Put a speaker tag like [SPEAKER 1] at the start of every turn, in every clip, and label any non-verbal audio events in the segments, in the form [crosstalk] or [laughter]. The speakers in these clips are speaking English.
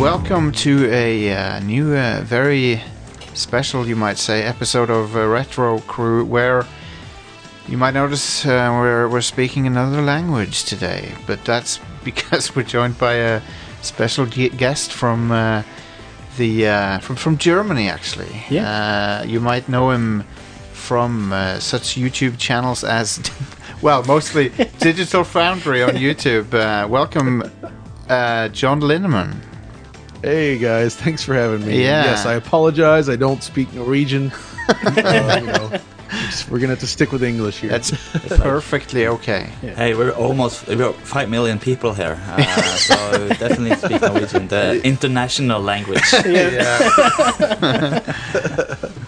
[SPEAKER 1] welcome to a uh, new, uh, very special, you might say, episode of uh, Retro Crew, where you might notice uh, we're we're speaking another language today, but that's [laughs] because we're joined by a special ge- guest from uh, the uh, from from Germany, actually. Uh, you might know him from uh, such YouTube channels as, [laughs] well, mostly Digital Foundry on YouTube. Uh, welcome, uh, John Linneman.
[SPEAKER 2] Hey guys, thanks for having me.
[SPEAKER 1] Yeah.
[SPEAKER 2] Yes, I apologize. I don't speak Norwegian. [laughs] Uh, you know, it's- we're gonna have to stick with English
[SPEAKER 1] [laughs]
[SPEAKER 2] here.
[SPEAKER 1] That's perfectly okay.
[SPEAKER 3] Hey, we're almost we're five million people here, uh, so definitely speak Norwegian, the international language.
[SPEAKER 1] yeah.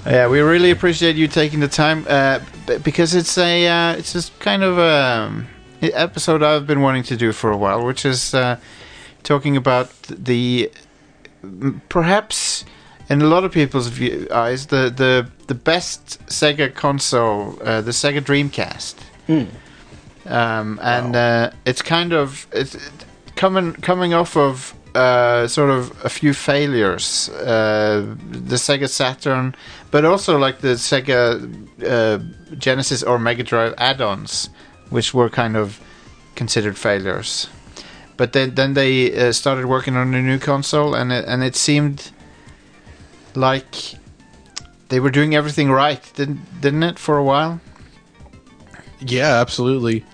[SPEAKER 1] yeah, we really appreciate you taking the time uh, b- because it's a uh, it's just kind of um, a episode I've been wanting to do for a while, which is uh, talking about the m- perhaps in a lot of people's view, eyes the the the best Sega console, uh, the Sega Dreamcast. Um, and uh, it's kind of it's it- coming coming off of uh, sort of a few failures, uh, the Sega Saturn, but also like the Sega uh, Genesis or Mega Drive add-ons, which were kind of considered failures. But then then they uh, started working on a new console, and it, and it seemed like they were doing everything right, didn't didn't it for a while?
[SPEAKER 2] yeah, absolutely.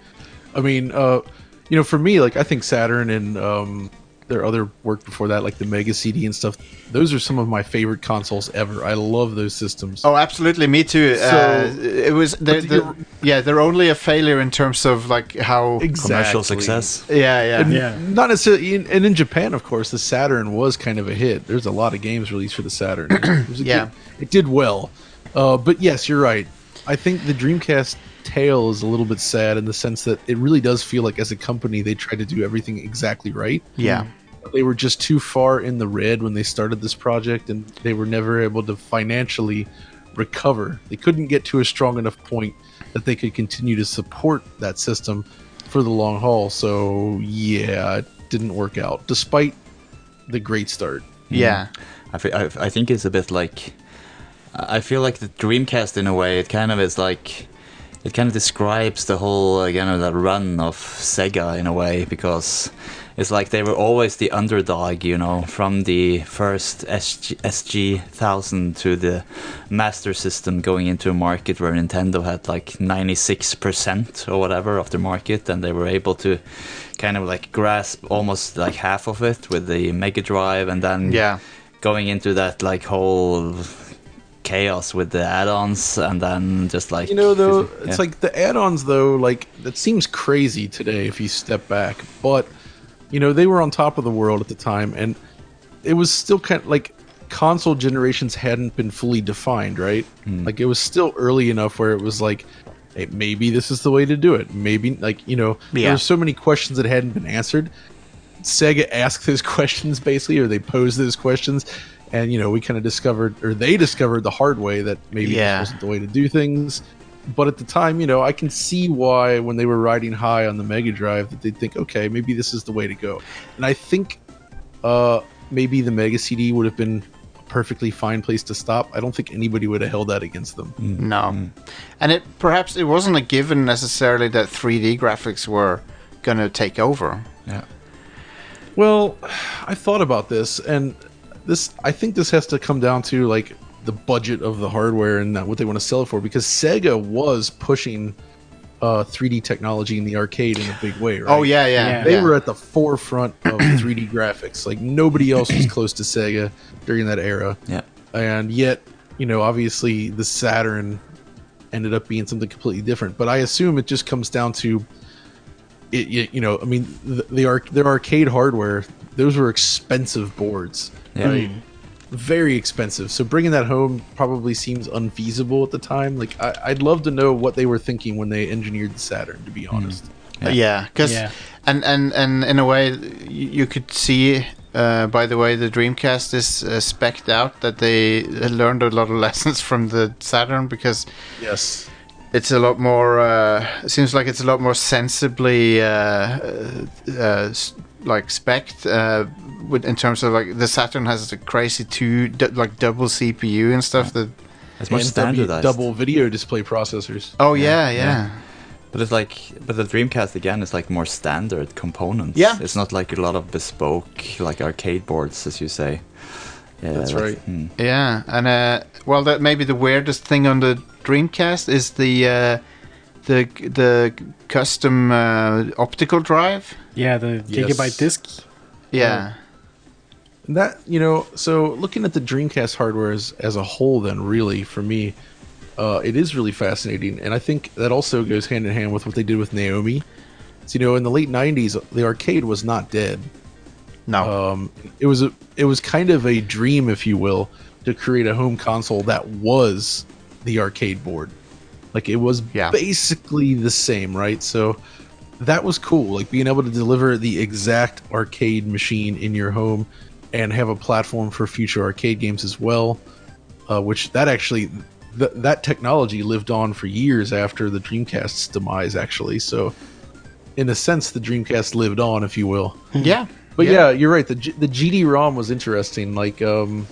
[SPEAKER 2] I mean, uh, you know, for me, like I think Saturn and um, their other work before that, like the Mega CD and stuff, those are some of my favorite consoles ever. I love those systems.
[SPEAKER 1] Oh, absolutely, me too. uh,
[SPEAKER 2] So-
[SPEAKER 1] it was they're,
[SPEAKER 2] But
[SPEAKER 1] they're-
[SPEAKER 2] you're-
[SPEAKER 1] yeah, they're only a failure in terms of like how
[SPEAKER 3] Commercial success.
[SPEAKER 1] yeah yeah
[SPEAKER 2] And
[SPEAKER 4] Yeah.
[SPEAKER 2] Not necessarily, in- and in Japan, of course, the Saturn was kind of a hit. There's a lot of games released for the Saturn. It was a
[SPEAKER 1] Yeah.
[SPEAKER 2] good- it did well. Uh, but yes, you're right. I think the Dreamcast tale is a little bit sad in the sense that it really does feel like, as a company, they tried to do everything exactly right.
[SPEAKER 1] yeah.
[SPEAKER 2] They were just too far in the red when they started this project, and they were never able to financially recover. They couldn't get to a strong enough point that they could continue to support that system for the long haul. So, yeah, it didn't work out, despite the great start.
[SPEAKER 1] yeah.
[SPEAKER 3] I, fe- I, I think it's a bit like I feel like the Dreamcast in a way. It kind of is like it kind of describes the whole uh, kind of that run of Sega in a way because it's like they were always the underdog, you know, from the first SG, SG thousand to the Master System going into a market where Nintendo had like ninety six percent or whatever of the market, and they were able to kind of like grasp almost like half of it with the Mega Drive, and then
[SPEAKER 1] Yeah.
[SPEAKER 3] going into that like whole chaos with the add-ons and then just like
[SPEAKER 2] You know, though,
[SPEAKER 3] Yeah.
[SPEAKER 2] it's like the add-ons, though. Like that seems crazy today if you step back, but you know they were on top of the world at the time, and it was still kind of like console generations hadn't been fully defined, right? Like it was still early enough where it was like. Hey, maybe this is the way to do it. Maybe like you know,
[SPEAKER 1] Yeah.
[SPEAKER 2] there were so many questions that hadn't been answered. Sega asked those [laughs] questions basically, or they posed those questions, and you know we kind of discovered, or they discovered the hard way that maybe
[SPEAKER 1] Yeah.
[SPEAKER 2] this wasn't the way to do things. But at the time, you know, I can see why when they were riding high on the Mega Drive that they'd think, okay, maybe this is the way to go. And I think uh, maybe the Mega CD would have been a perfectly fine place to stop. I don't think anybody would have held that against them.
[SPEAKER 1] No, and it perhaps it wasn't a given necessarily that 3D graphics were going to take over.
[SPEAKER 3] yeah.
[SPEAKER 2] Well, I've thought about this, and this I think this has to come down to like the budget of the hardware and what they want to sell it for, because Sega was pushing uh, 3D technology in the arcade in a big way. Right?
[SPEAKER 1] Oh yeah, yeah.
[SPEAKER 4] Yeah.
[SPEAKER 2] They
[SPEAKER 1] yeah.
[SPEAKER 2] were at the forefront of [clears throat] 3D graphics. Like nobody else was close to Sega during that era.
[SPEAKER 3] yeah
[SPEAKER 2] And yet, you know, obviously the Saturn ended up being something completely different. But I assume it just comes down to it. You, you know, I mean, the, the arc, their arcade hardware; those were expensive boards,
[SPEAKER 3] Yeah.
[SPEAKER 2] right? Very expensive. So bringing that home probably seems unfeasible at the time. Like, I, I'd love to know what they were thinking when they engineered the Saturn. To be
[SPEAKER 3] Hmm.
[SPEAKER 2] honest.
[SPEAKER 1] yeah because
[SPEAKER 4] Yeah.
[SPEAKER 1] and and and in a way you, you could see uh, by the way the dreamcast is uh, specked out that they uh, learned a lot of [laughs] lessons from the saturn because
[SPEAKER 2] Yes.
[SPEAKER 1] it's a lot more uh, it seems like it's a lot more sensibly uh, uh, uh, s- like spec uh, with, in terms of like the Saturn has the crazy two d- like double CPU and stuff. That
[SPEAKER 3] It's much
[SPEAKER 2] NW
[SPEAKER 3] standardized.
[SPEAKER 2] double video display processors.
[SPEAKER 1] oh yeah yeah.
[SPEAKER 3] But it's like, but the Dreamcast again is like more standard components.
[SPEAKER 1] Yeah.
[SPEAKER 3] It's not like a lot of bespoke, like arcade boards, as you say. Yeah,
[SPEAKER 2] That's right.
[SPEAKER 3] hmm.
[SPEAKER 1] Yeah, and uh, well, that maybe the weirdest thing on the Dreamcast is the uh, the the custom uh, optical drive.
[SPEAKER 4] Yeah, the
[SPEAKER 2] Yes.
[SPEAKER 4] gigabyte disc.
[SPEAKER 1] Yeah,
[SPEAKER 2] And That you know, so looking at the Dreamcast hardware as, as a whole, then really for me, uh, it is really fascinating, and I think that also goes hand in hand with what they did with Naomi. So you know, in the late '90s, the arcade was not dead.
[SPEAKER 1] no,
[SPEAKER 2] Um, it was a, it was kind of a dream, if you will, to create a home console that was the arcade board. Like it was
[SPEAKER 1] Yeah.
[SPEAKER 2] basically the same, right? So that was cool. Like being able to deliver the exact arcade machine in your home and have a platform for future arcade games as well. Uh, which that actually th- that technology lived on for years after the Dreamcast's demise, actually. So in a sense, the Dreamcast lived on, if you will.
[SPEAKER 1] yeah,
[SPEAKER 2] But yeah, you're right. The G- the GD-ROM was interesting. Like, um,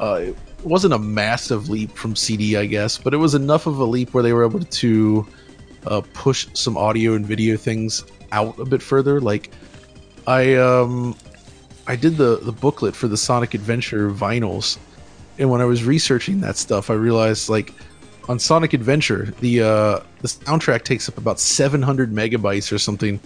[SPEAKER 2] uh, it wasn't a massive leap from CD, I guess, but it was enough of a leap where they were able to uh, push some audio and video things out a bit further. Like, I um, I did the the booklet for the Sonic Adventure vinyls, and when I was researching that stuff, I realized like on Sonic Adventure, the uh, the soundtrack takes up about 700 megabytes or something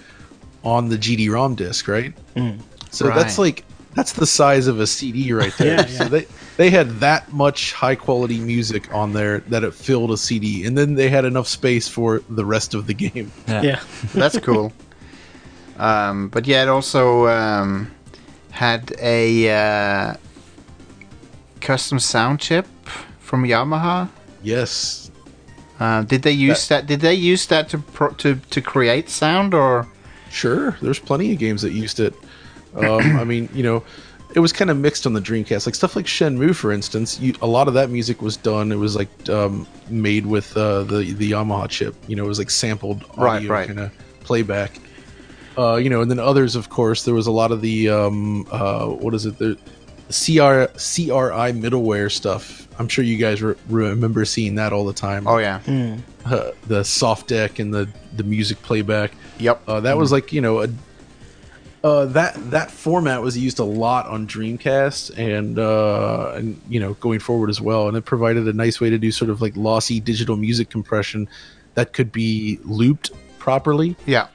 [SPEAKER 2] on the GD-ROM disc, right?
[SPEAKER 4] Mm.
[SPEAKER 2] So that's
[SPEAKER 1] Right.
[SPEAKER 2] like that's the size of a CD right there.
[SPEAKER 4] [laughs] Yeah,
[SPEAKER 2] So they they had that much high quality music on there that it filled a CD, and then they had enough space for the rest of the [laughs] game.
[SPEAKER 3] Yeah.
[SPEAKER 4] Yeah.
[SPEAKER 1] that's cool. Um, but yeah, it also um, had a uh, custom sound chip from Yamaha.
[SPEAKER 2] Yes,
[SPEAKER 1] Uh, did they use that? Did they use that to pro- to to create sound or?
[SPEAKER 2] Sure, there's plenty of games that used it. Um, I mean, you know, it was kind of mixed on the Dreamcast. Like stuff like Shenmue, for instance, you, a lot of that music was done. It was like um, made with uh, the the Yamaha chip. You know, it was like sampled audio
[SPEAKER 1] Right, right.
[SPEAKER 2] kind of playback. Uh, you know, and then others, of course, there was a lot of the um, uh, what is it? The CR, CRI middleware stuff. I'm sure you guys re- remember seeing that all the time.
[SPEAKER 1] Oh yeah,
[SPEAKER 2] Uh, the soft deck and the the music playback.
[SPEAKER 1] yep.
[SPEAKER 2] Uh, that was like you know a, uh, that that format was used a lot on Dreamcast and uh, and you know going forward as well, and it provided a nice way to do sort of like lossy digital music compression that could be looped properly.
[SPEAKER 1] yeah,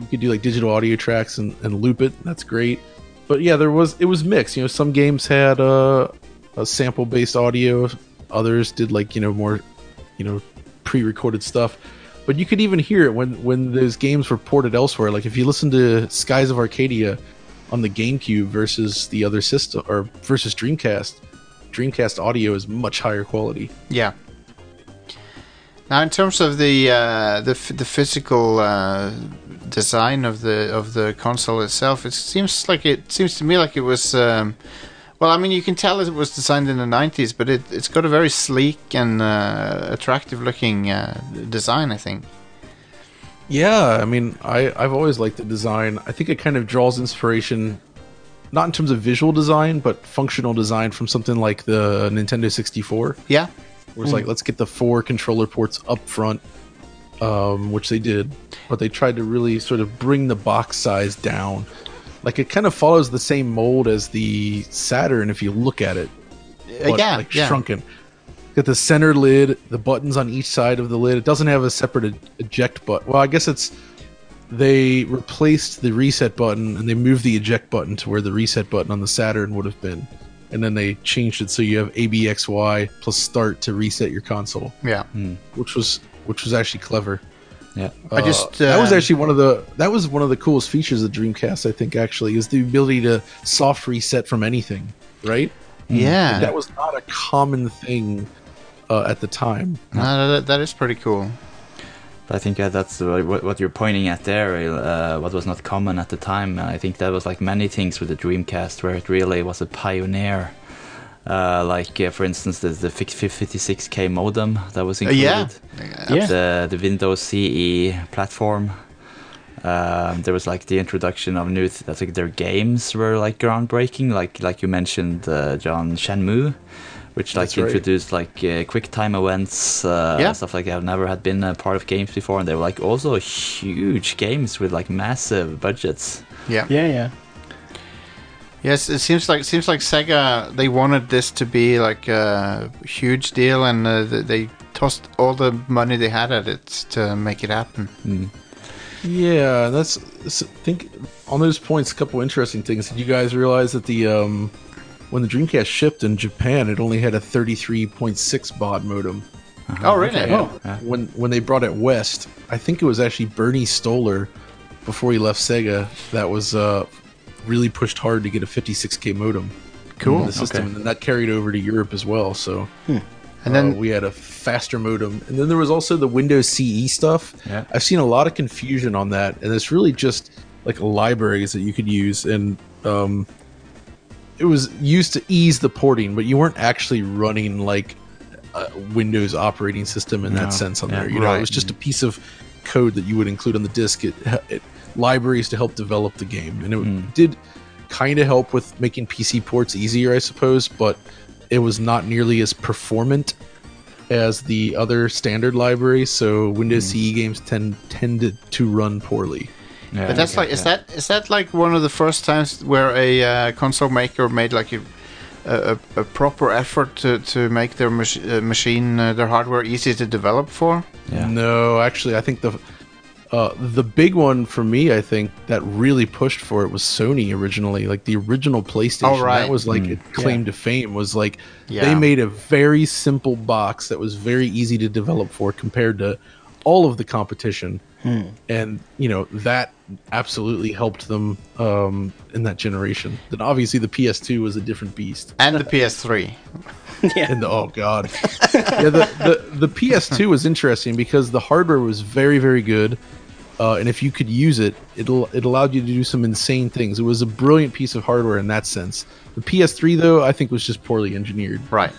[SPEAKER 2] You could do like digital audio tracks and, and loop it. That's great. But yeah, there was it was mixed. You know, some games had uh, a sample based audio, others did like you know more, you know, pre recorded stuff. But you could even hear it when when those games were ported elsewhere. Like if you listen to Skies of Arcadia on the GameCube versus the other system or versus Dreamcast, Dreamcast audio is much higher quality.
[SPEAKER 1] yeah. Now, in terms of the uh, the f- the physical uh, design of the of the console itself, it seems like it seems to me like it was. Um, well, I mean, you can tell it was designed in the '90s, but it it's got a very sleek and uh, attractive looking uh, design. I think.
[SPEAKER 2] Yeah, I mean, I I've always liked the design. I think it kind of draws inspiration, not in terms of visual design, but functional design from something like the Nintendo 64,
[SPEAKER 1] Yeah, Mm.
[SPEAKER 2] where it's like let's get the four controller ports up front, um, which they did, but they tried to really sort of bring the box size down. Like it kind of follows the same mold as the Saturn if you look at it
[SPEAKER 1] uh,
[SPEAKER 2] but,
[SPEAKER 1] yeah,
[SPEAKER 2] like
[SPEAKER 1] yeah.
[SPEAKER 2] shrunken. Got the center lid, the buttons on each side of the lid. It doesn't have a separate e- eject button. Well, I guess it's they replaced the reset button and they moved the eject button to where the reset button on the Saturn would have been, and then they changed it so you have ABXY plus start to reset your console,
[SPEAKER 1] Yeah,
[SPEAKER 2] which was which was actually clever.
[SPEAKER 3] Yeah.
[SPEAKER 1] I just
[SPEAKER 2] Uh, that was
[SPEAKER 1] um,
[SPEAKER 2] actually one of the that was one of the coolest features of Dreamcast. I think actually is the ability to soft reset from anything, right?
[SPEAKER 1] yeah.
[SPEAKER 2] that was not a common thing uh, at the time.
[SPEAKER 1] No, that, that is pretty cool.
[SPEAKER 3] But I think uh, that's uh, what, what you're pointing at there. Uh, what was not common at the time. And I think that was like many things with the Dreamcast, where it really was a pioneer. Uh, like uh, for instance, the, the fif- 56k modem that was
[SPEAKER 1] Uh,
[SPEAKER 3] included.
[SPEAKER 1] yeah,
[SPEAKER 4] Yeah.
[SPEAKER 3] The the Windows CE E platform. Um, there was like the introduction of new. Th- I think their games were like groundbreaking, like like you mentioned, uh, John Shenmue, which like
[SPEAKER 2] That's right.
[SPEAKER 3] introduced like uh, quick time events, uh,
[SPEAKER 1] Yeah.
[SPEAKER 3] stuff like that. I've never had been a part of games before, and they were like also huge games with like massive budgets.
[SPEAKER 1] Yeah.
[SPEAKER 4] Yeah, yeah.
[SPEAKER 1] Yes, it seems like seems like Sega they wanted this to be like a huge deal, and uh, th- they tossed all the money they had at it to make it happen.
[SPEAKER 2] Yeah, that's. s- Think on those points. A couple interesting things. Did you guys realize that the um, when the Dreamcast shipped in Japan, it only had a 33.6 baud modem.
[SPEAKER 1] oh, really?
[SPEAKER 4] Oh,
[SPEAKER 2] When when they brought it west, I think it was actually Bernie Stoller, before he left Sega, that was uh, really pushed hard to get a 56k modem.
[SPEAKER 1] Cool. Hmm.
[SPEAKER 2] in The system, and that carried over to Europe as well. So.
[SPEAKER 1] And then
[SPEAKER 2] Uh, we had a faster modem, and then there was also the Windows CE stuff.
[SPEAKER 3] Yeah.
[SPEAKER 2] I've seen a lot of confusion on that, and it's really just like libraries that you could use, and um, it was used to ease the porting, but you weren't actually running like a Windows operating system in
[SPEAKER 3] No.
[SPEAKER 2] that sense on
[SPEAKER 3] Yeah,
[SPEAKER 2] there. You know,
[SPEAKER 1] right.
[SPEAKER 2] it was just a piece of code that you would include on the disk. It, it libraries to help develop the game, and it
[SPEAKER 3] Hmm.
[SPEAKER 2] did kind of help with making PC ports easier, I suppose, but it was not nearly as performant as the other standard libraries. So Windows
[SPEAKER 3] Hmm.
[SPEAKER 2] CE games tend tended to run poorly.
[SPEAKER 3] Yeah,
[SPEAKER 1] But that's
[SPEAKER 3] yeah,
[SPEAKER 1] like, is
[SPEAKER 3] yeah.
[SPEAKER 1] that is that like one of the first times where a uh, console maker made like a a, a- a proper effort to, to make their mach- uh, machine uh, their hardware easy to develop for?
[SPEAKER 3] Yeah.
[SPEAKER 2] No, actually, I think the uh, the big one for me, I think that really pushed for it was Sony originally, like the original PlayStation.
[SPEAKER 1] Oh, right.
[SPEAKER 2] That was like a claim to fame. Was like
[SPEAKER 1] Yeah.
[SPEAKER 2] they made a very simple box that was very easy to develop for compared to all of the competition,
[SPEAKER 1] Hmm.
[SPEAKER 2] and you know that absolutely helped them um, in that generation. Then obviously the PS2 was a different beast
[SPEAKER 1] And the PS3.
[SPEAKER 2] and the, oh god [laughs] yeah the, the, the ps2 was interesting because the hardware was very very good uh, and if you could use it it it allowed you to do some insane things it was a brilliant piece of hardware in that sense the ps3 though i think was just poorly engineered [laughs]
[SPEAKER 1] Right.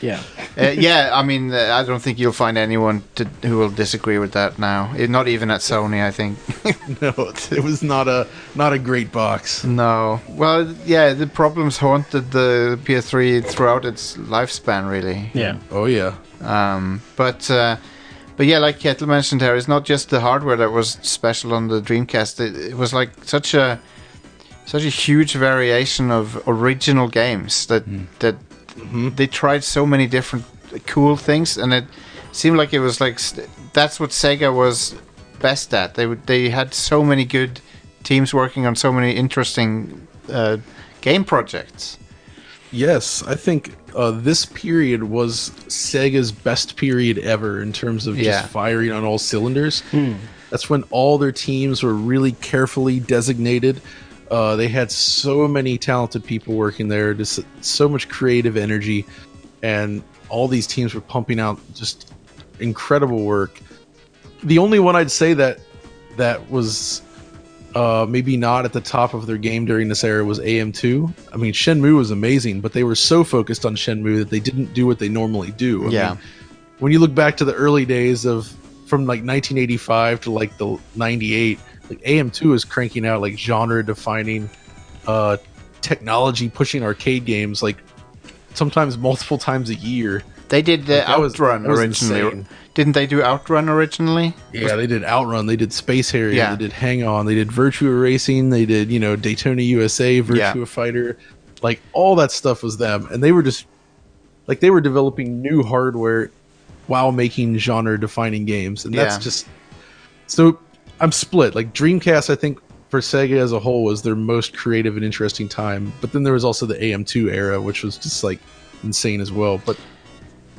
[SPEAKER 4] yeah.
[SPEAKER 1] uh, yeah, I mean, uh, I don't think you'll find anyone to, who will disagree with that now. Eh, Not even at Sony, I think.
[SPEAKER 2] no it was not a not a great box
[SPEAKER 1] no. Well, yeah, the problems haunted the PS3 throughout its lifespan, really.
[SPEAKER 4] Yeah.
[SPEAKER 2] oh yeah
[SPEAKER 1] Um, but uh, but yeah, like Kettle mentioned there, it's not just the hardware that was special on the Dreamcast. It, it was like such a such a huge variation of original games that that
[SPEAKER 2] Mm-hmm.
[SPEAKER 1] they tried so many different cool things, and it seemed like it was like st- that's what Sega was best at. They would they had so many good teams working on so many interesting uh, game projects.
[SPEAKER 2] Yes, I think uh, this period was Sega's best period ever in terms of
[SPEAKER 1] Yeah.
[SPEAKER 2] just firing on all cylinders. That's when all their teams were really carefully designated. Uh, they had so many talented people working there, just so much creative energy, and all these teams were pumping out just incredible work. The only one I'd say that that was uh, maybe not at the top of their game during this era was AM2. I mean, Shenmue was amazing, but they were so focused on Shenmue that they didn't do what they normally do. I
[SPEAKER 1] Yeah.
[SPEAKER 2] mean, when you look back to the early days of from like 1985 to like the 98, like AM2 is cranking out like genre-defining, uh, technology-pushing arcade games like sometimes multiple times a year.
[SPEAKER 1] They did the
[SPEAKER 2] that was-
[SPEAKER 1] Outrun
[SPEAKER 2] that was
[SPEAKER 1] originally.
[SPEAKER 2] insane.
[SPEAKER 1] Didn't they do Outrun originally?
[SPEAKER 2] Yeah, they did Outrun, they did Space Harrier,
[SPEAKER 1] Yeah.
[SPEAKER 2] they did Hang On, they did Virtua Racing, they did, you know, Daytona USA, Virtua
[SPEAKER 1] Yeah.
[SPEAKER 2] Fighter. Like all that stuff was them. And they were just like they were developing new hardware while making genre defining games. And that's
[SPEAKER 1] Yeah.
[SPEAKER 2] just so I'm split. Like Dreamcast, I think for Sega as a whole was their most creative and interesting time. But then there was also the AM2 era, which was just like insane as well. But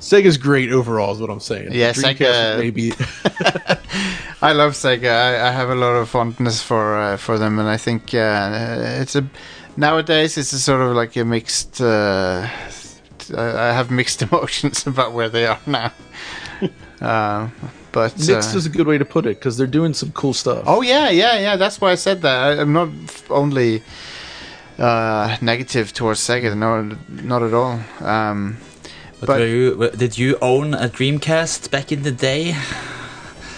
[SPEAKER 2] Sega's great overall is what I'm saying.
[SPEAKER 1] Yeah,
[SPEAKER 2] Dreamcast
[SPEAKER 1] Sega-
[SPEAKER 2] is maybe
[SPEAKER 1] I love Sega. I, I have a lot of fondness for uh, for them, and I think uh, it's a nowadays it's a sort of like a mixed. Uh, I I have mixed [laughs] emotions about where they are
[SPEAKER 2] [laughs]
[SPEAKER 1] now. uh, but
[SPEAKER 2] Mixed
[SPEAKER 1] uh,
[SPEAKER 2] is a good way to put it because they're doing some cool stuff.
[SPEAKER 1] oh yeah, yeah, yeah. That's why I said that. I, I'm not f- only uh, negative towards Sega. No, not at all. Um,
[SPEAKER 3] But,
[SPEAKER 1] But-
[SPEAKER 3] were you, were- did you own a Dreamcast back in the day?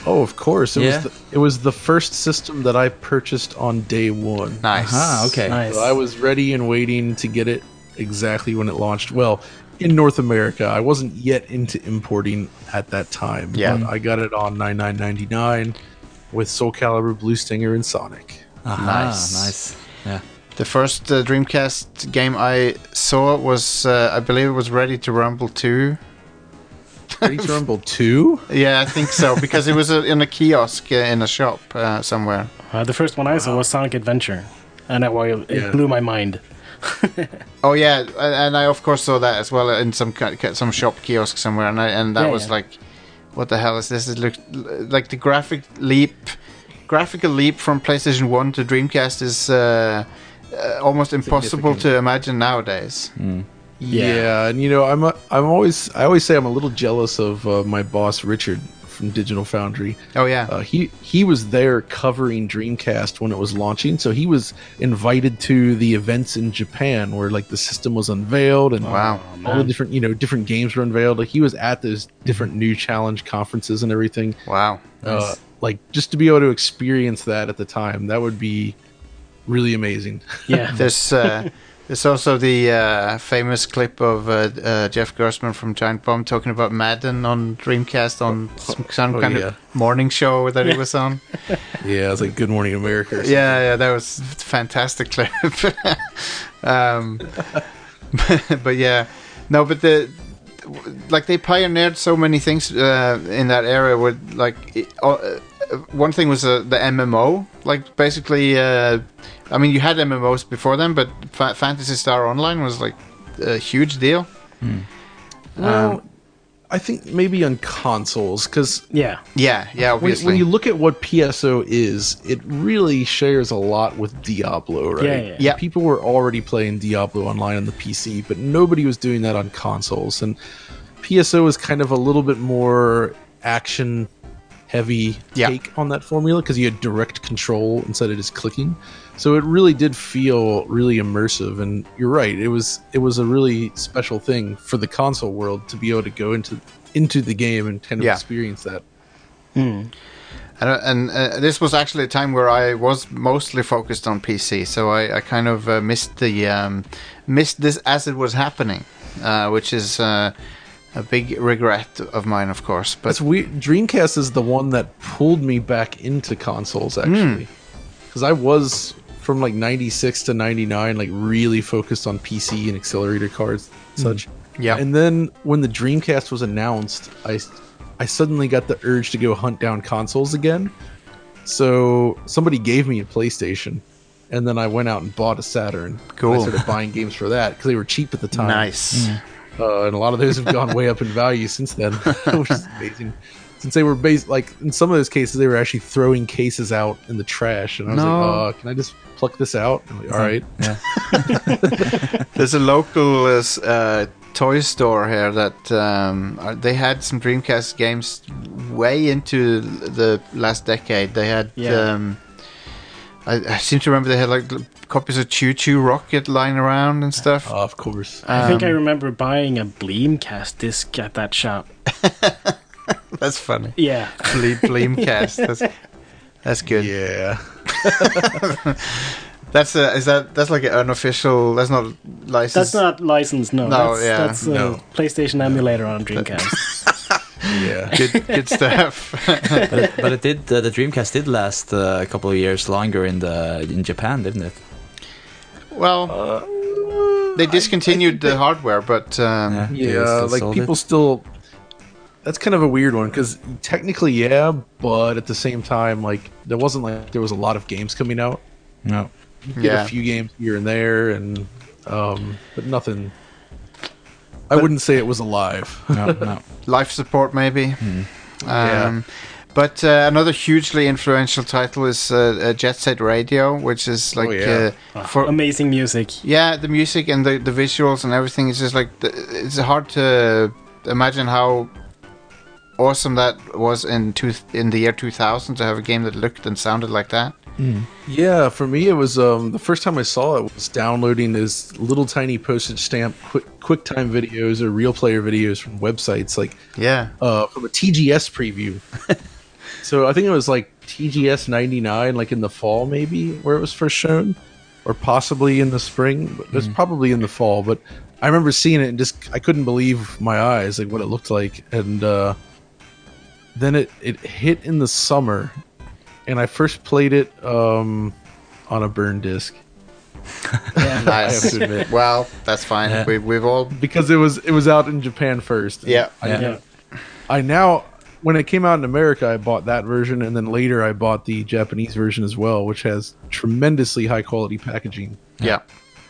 [SPEAKER 2] Oh, of course. It
[SPEAKER 3] Yeah.
[SPEAKER 2] was the, it was the first system that I purchased on day one.
[SPEAKER 1] Nice.
[SPEAKER 3] Ah,
[SPEAKER 2] Uh-huh.
[SPEAKER 3] okay.
[SPEAKER 4] Nice.
[SPEAKER 2] So I was ready and waiting to get it exactly when it launched. Well, in North America, I wasn't yet into importing at that time.
[SPEAKER 1] Yeah.
[SPEAKER 2] but I got it on nine nine ninety nine with Soul Calibur, Blue Stinger, and Sonic.
[SPEAKER 3] Aha,
[SPEAKER 1] Nice.
[SPEAKER 3] Nice. Yeah.
[SPEAKER 1] The first uh, Dreamcast game I saw was, uh, I believe, it was Ready to Rumble 2.
[SPEAKER 2] Ready to Rumble two.
[SPEAKER 1] Yeah, I think so because it was uh in a kiosk uh, in a shop uh, somewhere.
[SPEAKER 4] Uh, the first one I saw was Sonic Adventure, and that why it
[SPEAKER 2] Yeah.
[SPEAKER 4] blew my mind.
[SPEAKER 1] Oh yeah, and- and I of course saw that as well in some ki- ki- some shop kiosk somewhere, and I, and that
[SPEAKER 4] Yeah,
[SPEAKER 1] was
[SPEAKER 4] yeah.
[SPEAKER 1] like, what the hell is this? It looked l- like the graphic leap, graphical leap from PlayStation One to Dreamcast is uh, uh, almost impossible to imagine nowadays.
[SPEAKER 4] Hmm.
[SPEAKER 2] Yeah. and you know, I'm a, I'm always I always say I'm a little jealous of uh, my boss Richard from Digital Foundry.
[SPEAKER 1] Oh yeah,
[SPEAKER 2] Uh, he he was there covering Dreamcast when it was launching, so he was invited to the events in Japan where like the system was unveiled and
[SPEAKER 1] Wow.
[SPEAKER 2] all the different you know different games were unveiled. Like he was at those different new challenge conferences and everything.
[SPEAKER 1] wow.
[SPEAKER 2] Uh, like just to be able to experience that at the time, that would be really amazing.
[SPEAKER 4] Yeah.
[SPEAKER 1] [laughs] There's uh, there's also the uh, famous clip of uh, uh, Jeff Gerstmann from Giant Bomb talking about Madden on Dreamcast on some, some
[SPEAKER 2] Oh,
[SPEAKER 1] kind
[SPEAKER 2] yeah.
[SPEAKER 1] of morning show that he was on.
[SPEAKER 2] yeah, it's like Good Morning America. Or something.
[SPEAKER 1] Yeah, yeah, that was a fantastic [laughs] clip. um, [laughs] but, but yeah, no, but the like they pioneered so many things uh, in that era. With like it, uh, one thing was uh, the MMO, like basically. Uh, I mean, you had MMOs before them, but Fa- Fantasy Star Online was like a huge deal.
[SPEAKER 2] Well, I think maybe on consoles because
[SPEAKER 4] yeah.
[SPEAKER 1] Yeah, yeah,
[SPEAKER 2] when,
[SPEAKER 1] obviously.
[SPEAKER 2] when you look at what PSO is, it really shares a lot with Diablo, right?
[SPEAKER 4] Yeah, yeah,
[SPEAKER 1] yeah.
[SPEAKER 2] People were already playing Diablo online on the PC, but nobody was doing that on consoles. And PSO is kind of a little bit more action heavy
[SPEAKER 1] Yeah.
[SPEAKER 2] take on that formula because you had direct control instead of just clicking. So it really did feel really immersive and you're right, it was it was a really special thing for the console world to be able to go into into the game and kind of
[SPEAKER 1] Yeah.
[SPEAKER 2] experience that.
[SPEAKER 1] And, uh, and uh, this was actually a time where I was mostly focused on PC, so I, I kind of uh, missed the um, missed this as it was happening, uh, which is uh, a big regret of mine, of course. But
[SPEAKER 2] That's weird. Dreamcast is the one that pulled me back into consoles actually,
[SPEAKER 1] Hmm.
[SPEAKER 2] because I was from like '96 to '99, like really focused on PC and accelerator cards, and such.
[SPEAKER 1] Hmm. Yeah.
[SPEAKER 2] And then when the Dreamcast was announced, I I suddenly got the urge to go hunt down consoles again. So somebody gave me a PlayStation, and then I went out and bought a Saturn. And
[SPEAKER 1] Cool.
[SPEAKER 2] I started buying games for that because they were cheap at the time.
[SPEAKER 1] nice,
[SPEAKER 2] Uh, and a lot of those have gone way up in value since then, [laughs] which is amazing. Since they were based, like in some of those cases, they were actually throwing cases out in the trash, and I was
[SPEAKER 1] No.
[SPEAKER 2] like, "Oh, can I just pluck this out?" I'm like, All right,
[SPEAKER 1] there's a local uh, s- uh, toy store here that um, are- they had some Dreamcast games way into the last decade. They had.
[SPEAKER 4] Yeah.
[SPEAKER 1] Um, I, I seem to remember they had like l- copies of Choo Choo Rocket lying around and stuff.
[SPEAKER 2] uh, of course.
[SPEAKER 4] I think I remember buying a Bleemcast disc at that shop.
[SPEAKER 1] [laughs] That's funny.
[SPEAKER 4] Yeah.
[SPEAKER 1] Ble- Bleemcast. That's, that's good.
[SPEAKER 2] yeah,
[SPEAKER 1] That's a is that that's like an unofficial. That's not licensed.
[SPEAKER 4] That's not licensed, no.
[SPEAKER 1] No,
[SPEAKER 4] that's,
[SPEAKER 1] yeah,
[SPEAKER 4] that's a
[SPEAKER 2] no.
[SPEAKER 4] PlayStation emulator on Dreamcast.
[SPEAKER 2] yeah.
[SPEAKER 1] good.
[SPEAKER 4] [laughs]
[SPEAKER 1] Good stuff.
[SPEAKER 3] But it, but it did. Uh, the Dreamcast did last uh, a couple of years longer in the in Japan, didn't it?
[SPEAKER 1] well, they discontinued the hardware, but um,
[SPEAKER 3] Yeah.
[SPEAKER 2] [laughs]
[SPEAKER 3] They
[SPEAKER 2] Yeah,
[SPEAKER 3] still
[SPEAKER 2] like
[SPEAKER 3] sold
[SPEAKER 2] people
[SPEAKER 3] it.
[SPEAKER 2] still. That's kind of a weird one because technically, yeah, but at the same time, like there wasn't like there was a lot of games coming out.
[SPEAKER 3] No.
[SPEAKER 2] You get
[SPEAKER 1] Yeah.
[SPEAKER 2] a few games here and there, and um, but nothing. I wouldn't say it was alive. [laughs]
[SPEAKER 3] No. No.
[SPEAKER 1] life support maybe.
[SPEAKER 2] Hmm. Yeah.
[SPEAKER 1] Um, But uh, another hugely influential title is uh, uh, Jet Set Radio, which is like
[SPEAKER 2] Oh, yeah. Uh-huh.
[SPEAKER 1] uh, for
[SPEAKER 4] Amazing music.
[SPEAKER 1] yeah the music and the, the visuals and everything is just like th- it's hard to imagine how awesome that was in two, in the year 2000 to have a game that looked and sounded like that
[SPEAKER 2] Yeah, for me it was um, the first time I saw it was downloading those little tiny postage stamp quick QuickTime videos or real player videos from websites like
[SPEAKER 1] yeah
[SPEAKER 2] uh, from a TGS preview. So I think it was like TGS 99, like in the fall, maybe, where it was first shown, or possibly in the spring. But it was probably in the fall. But I remember seeing it and just, I couldn't believe my eyes, like what it looked like. And uh, then it, it hit in the summer. And I first played it um, on a burn disc.
[SPEAKER 1] Nice.
[SPEAKER 2] [laughs] I have to admit.
[SPEAKER 1] Well, that's fine.
[SPEAKER 3] Yeah.
[SPEAKER 1] We, we've all.
[SPEAKER 2] Because it was it was out in Japan first.
[SPEAKER 1] Yeah.
[SPEAKER 2] I
[SPEAKER 3] Yeah.
[SPEAKER 4] Yeah.
[SPEAKER 2] I now when it came out in America, I bought that version, and then later I bought the Japanese version as well, which has tremendously high quality packaging.
[SPEAKER 1] Yeah.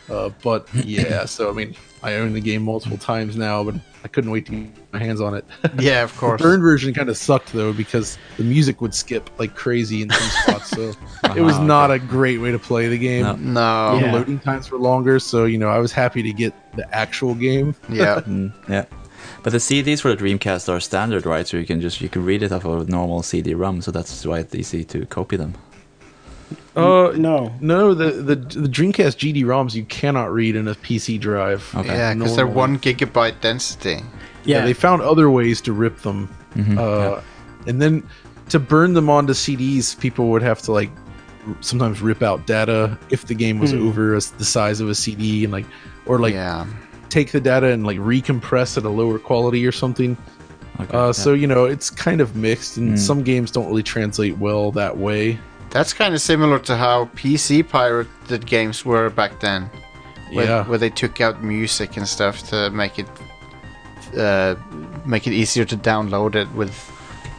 [SPEAKER 2] Uh, but yeah, so I mean, I own the game multiple times now, but I couldn't wait to get my hands on it. [laughs]
[SPEAKER 1] Yeah, of course.
[SPEAKER 2] the Burn version kind of sucked though because the music would skip like crazy in some spots, so it was
[SPEAKER 3] Uh-huh,
[SPEAKER 2] not a great way to play the game.
[SPEAKER 3] No.
[SPEAKER 1] No.
[SPEAKER 2] The
[SPEAKER 4] Yeah.
[SPEAKER 2] loading times were longer, so you know I was happy to get the actual game.
[SPEAKER 1] Yeah.
[SPEAKER 2] [laughs]
[SPEAKER 3] Mm, yeah. But the CDs for the Dreamcast are standard, right? So you can just you can read it off of a normal CD-ROM. So that's why it's easy to copy them.
[SPEAKER 2] Uh,
[SPEAKER 4] No.
[SPEAKER 2] No, the, the the Dreamcast GD ROMs you cannot read in a PC drive.
[SPEAKER 3] Okay.
[SPEAKER 1] Yeah, because they're
[SPEAKER 2] Normally.
[SPEAKER 1] one gigabyte density.
[SPEAKER 2] Yeah,
[SPEAKER 4] Yeah.
[SPEAKER 2] they found other ways to rip them,
[SPEAKER 3] Mhm,
[SPEAKER 2] uh, and then to burn them onto CDs, people would have to like r- sometimes rip out data if the game was
[SPEAKER 4] Hmm.
[SPEAKER 2] over as the size of a CD, and like or like
[SPEAKER 1] yeah.
[SPEAKER 2] take the data and like recompress at a lower quality or something.
[SPEAKER 3] Okay,
[SPEAKER 2] Uh,
[SPEAKER 3] yeah.
[SPEAKER 2] So you know it's kind of mixed, and
[SPEAKER 3] Hmm.
[SPEAKER 2] some games don't really translate well that way.
[SPEAKER 1] That's kind of similar to how PC pirated games were back then. Where,
[SPEAKER 2] yeah,
[SPEAKER 1] where they took out music and stuff to make it uh, make it easier to download it with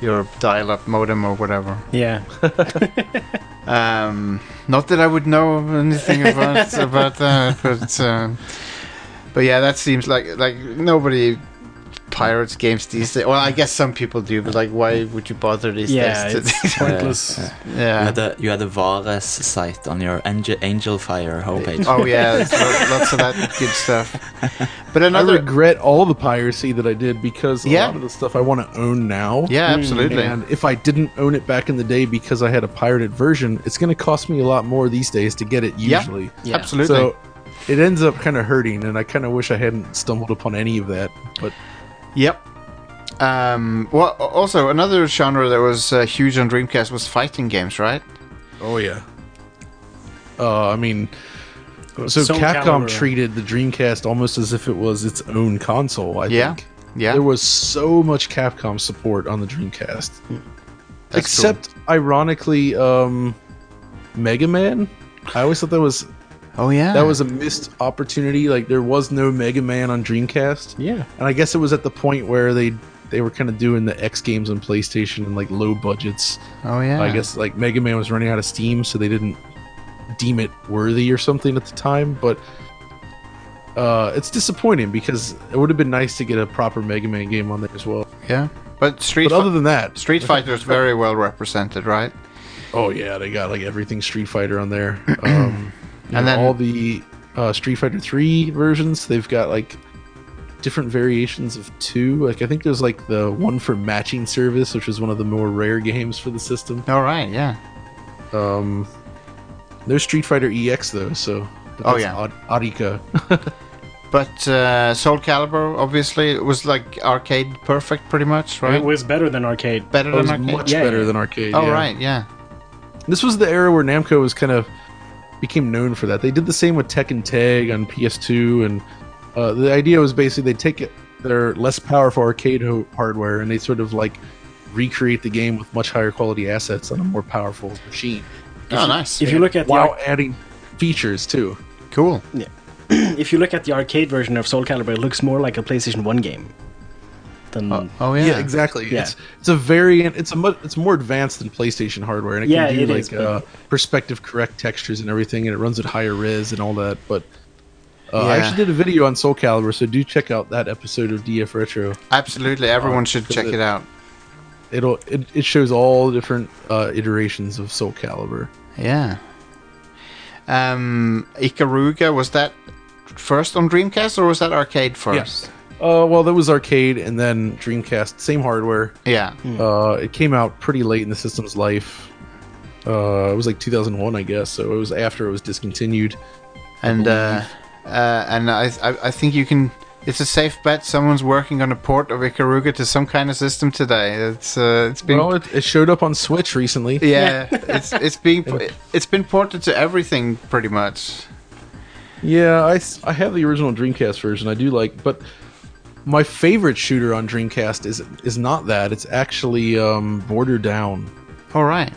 [SPEAKER 1] your dial-up modem or whatever.
[SPEAKER 4] yeah.
[SPEAKER 1] Um, not that I would know
[SPEAKER 4] [laughs]
[SPEAKER 1] anything about about that, but uh, but yeah, that seems like like nobody pirates games these days. Well, I guess some people do, but like, why would you bother these
[SPEAKER 4] Yeah.
[SPEAKER 1] days?
[SPEAKER 4] It's
[SPEAKER 1] To,
[SPEAKER 4] pointless.
[SPEAKER 3] yeah. You
[SPEAKER 1] [laughs] yeah.
[SPEAKER 3] had the you had the Vares site on your Angel, Angel Fire homepage.
[SPEAKER 1] Oh yeah, there's lo- lots of that good stuff. But
[SPEAKER 2] I
[SPEAKER 1] another,
[SPEAKER 2] regret all the piracy that I did because a
[SPEAKER 1] Yeah.
[SPEAKER 2] lot of the stuff I want to own now.
[SPEAKER 1] yeah, absolutely.
[SPEAKER 2] And if I didn't own it back in the day because I had a pirated version, it's going to cost me a lot more these days to get it
[SPEAKER 1] Yeah.
[SPEAKER 2] usually.
[SPEAKER 3] Yeah.
[SPEAKER 1] Absolutely.
[SPEAKER 2] So it ends up kind of hurting, and I kind of wish I hadn't stumbled upon any of that. But
[SPEAKER 1] Yep. Um, well, a- also another genre that was uh, huge on Dreamcast was fighting games, right?
[SPEAKER 2] oh yeah, uh, I mean, so
[SPEAKER 4] Soul
[SPEAKER 2] Capcom
[SPEAKER 4] Calibur.
[SPEAKER 2] treated the Dreamcast almost as if it was its own console. I
[SPEAKER 1] Yeah.
[SPEAKER 2] think
[SPEAKER 1] Yeah.
[SPEAKER 2] there was so much Capcom support on the Dreamcast,
[SPEAKER 1] That's cool.
[SPEAKER 2] except ironically, um, Mega Man. I always thought that was
[SPEAKER 1] Oh yeah.
[SPEAKER 2] that was a missed opportunity. Like there was no Mega Man on Dreamcast,
[SPEAKER 4] Yeah.
[SPEAKER 2] and I guess it was at the point where they they were kind of doing the X games on PlayStation and like low budgets.
[SPEAKER 1] Oh yeah.
[SPEAKER 2] I guess like Mega Man was running out of steam, so they didn't deem it worthy or something at the time. But uh, it's disappointing because it would have been nice to get a proper Mega Man game on there as well.
[SPEAKER 1] Yeah. But Street
[SPEAKER 2] But other
[SPEAKER 1] Fighter
[SPEAKER 2] than that,
[SPEAKER 1] Street Fighter is very well represented, right?
[SPEAKER 2] oh yeah, they got like everything Street Fighter
[SPEAKER 1] [clears throat]
[SPEAKER 2] on there. Um,
[SPEAKER 1] And then-
[SPEAKER 2] and then all the uh, Street Fighter three versions, they've got like different variations of two. Like I think there's like the one for matching service, which was one of the more rare games for the system.
[SPEAKER 1] All right. Yeah.
[SPEAKER 2] Um, there's Street Fighter EX though, so but
[SPEAKER 1] Oh,
[SPEAKER 2] that's
[SPEAKER 1] yeah.
[SPEAKER 2] Ar-
[SPEAKER 1] [laughs]
[SPEAKER 2] Arika.
[SPEAKER 1] But uh, Soul Calibur obviously was like arcade perfect, pretty much, right?
[SPEAKER 4] It was better than arcade.
[SPEAKER 1] Better
[SPEAKER 2] It was
[SPEAKER 1] than arcade.
[SPEAKER 2] much
[SPEAKER 4] Yeah,
[SPEAKER 2] better
[SPEAKER 4] yeah.
[SPEAKER 2] than arcade.
[SPEAKER 1] oh
[SPEAKER 2] yeah.
[SPEAKER 1] right. Yeah.
[SPEAKER 2] This was the era where Namco was kind of became known for that. They did the same with Tekken Tag on PS2, and uh, the idea was basically they take it, their less powerful arcade ho- hardware and they sort of like recreate the game with much higher quality assets on a more powerful machine
[SPEAKER 1] Oh nice.
[SPEAKER 4] If you look at the
[SPEAKER 2] while
[SPEAKER 4] arc-
[SPEAKER 2] adding features too.
[SPEAKER 1] cool.
[SPEAKER 4] if you look at the arcade version of Soul Calibur, it looks more like a PlayStation One game than
[SPEAKER 1] Oh yeah.
[SPEAKER 2] Yeah, exactly.
[SPEAKER 4] Yeah.
[SPEAKER 2] It's it's a variant. It's a mu- it's more advanced than PlayStation hardware, and it
[SPEAKER 4] Yeah,
[SPEAKER 2] can do
[SPEAKER 4] it
[SPEAKER 2] like
[SPEAKER 4] is, but-
[SPEAKER 2] uh, perspective correct textures and everything, and it runs at higher res and all that. But uh, I
[SPEAKER 1] Yeah.
[SPEAKER 2] actually did a video on Soul Calibur, so do check out that episode of DF Retro.
[SPEAKER 1] Absolutely. Everyone should
[SPEAKER 2] because
[SPEAKER 1] check
[SPEAKER 2] it-
[SPEAKER 1] it out.
[SPEAKER 2] It'll it, it shows all the different uh, iterations of Soul Calibur.
[SPEAKER 1] Yeah. Um, Ikaruga was that first on Dreamcast or was that arcade first?
[SPEAKER 2] Uh, well, that was arcade, and then Dreamcast, same hardware.
[SPEAKER 1] Yeah.
[SPEAKER 4] Hmm.
[SPEAKER 2] Uh, it came out pretty late in the system's life. Uh, it was like 2001, I guess. So it was after it was discontinued.
[SPEAKER 1] And uh, uh, and I, I I think you can it's a safe bet someone's working on a port of Ikaruga to some kind of system today. It's uh, it's been
[SPEAKER 2] Well, it, it showed up on Switch recently.
[SPEAKER 1] [laughs] yeah, it's it's being it's been ported to everything pretty much.
[SPEAKER 2] Yeah, I, s- I have the original Dreamcast version. I do like, but my favorite shooter on Dreamcast is is not that. It's actually um, Border Down.
[SPEAKER 1] All right.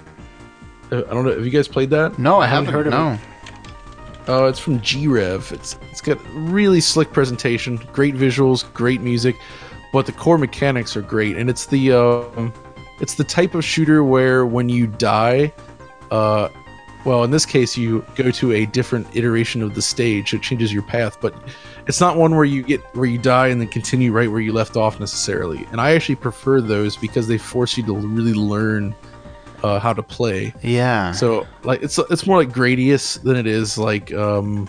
[SPEAKER 2] Uh, I don't know. Have you guys played that?
[SPEAKER 1] No, I, haven't.
[SPEAKER 4] haven't heard of
[SPEAKER 1] no.
[SPEAKER 2] Uh, it's from G-Rev. It's it's got really slick presentation, great visuals, great music, but the core mechanics are great, and it's the um, it's the type of shooter where when you die, uh, well, in this case, you go to a different iteration of the stage. It changes your path, but it's not one where you get where you die and then continue right where you left off necessarily. And I actually prefer those because they force you to really learn uh, how to play.
[SPEAKER 1] Yeah.
[SPEAKER 2] So like it's it's more like Gradius than it is like um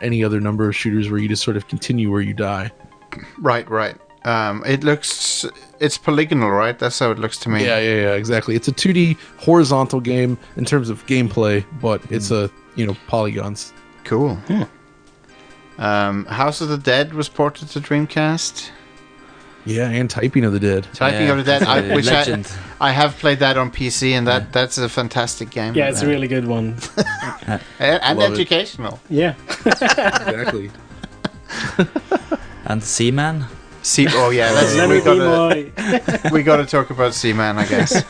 [SPEAKER 2] any other number of shooters where you just sort of continue where you die.
[SPEAKER 1] right, right. Um, it looks it's polygonal, right? That's how it looks to me.
[SPEAKER 2] Yeah, yeah, yeah, exactly. It's a 2D horizontal game in terms of gameplay, but it's a you know polygons.
[SPEAKER 1] Cool. Um, House of the Dead was ported to Dreamcast.
[SPEAKER 2] Yeah, and typing of the dead.
[SPEAKER 1] Typing
[SPEAKER 3] Yeah,
[SPEAKER 1] of the Dead,
[SPEAKER 3] it's
[SPEAKER 1] I, [laughs]
[SPEAKER 3] a
[SPEAKER 1] which I,
[SPEAKER 3] legend.
[SPEAKER 1] I have played that on PC, and that, that's a fantastic game.
[SPEAKER 4] Yeah, it's a really good one.
[SPEAKER 1] and, and
[SPEAKER 2] Love it.
[SPEAKER 1] educational.
[SPEAKER 4] Yeah.
[SPEAKER 2] Exactly.
[SPEAKER 3] And Seaman?
[SPEAKER 1] [laughs] See, oh yeah, [laughs] that's,
[SPEAKER 4] Let
[SPEAKER 1] we
[SPEAKER 4] me be
[SPEAKER 1] got
[SPEAKER 4] my.
[SPEAKER 1] to [laughs] we got to talk about Seaman, I guess.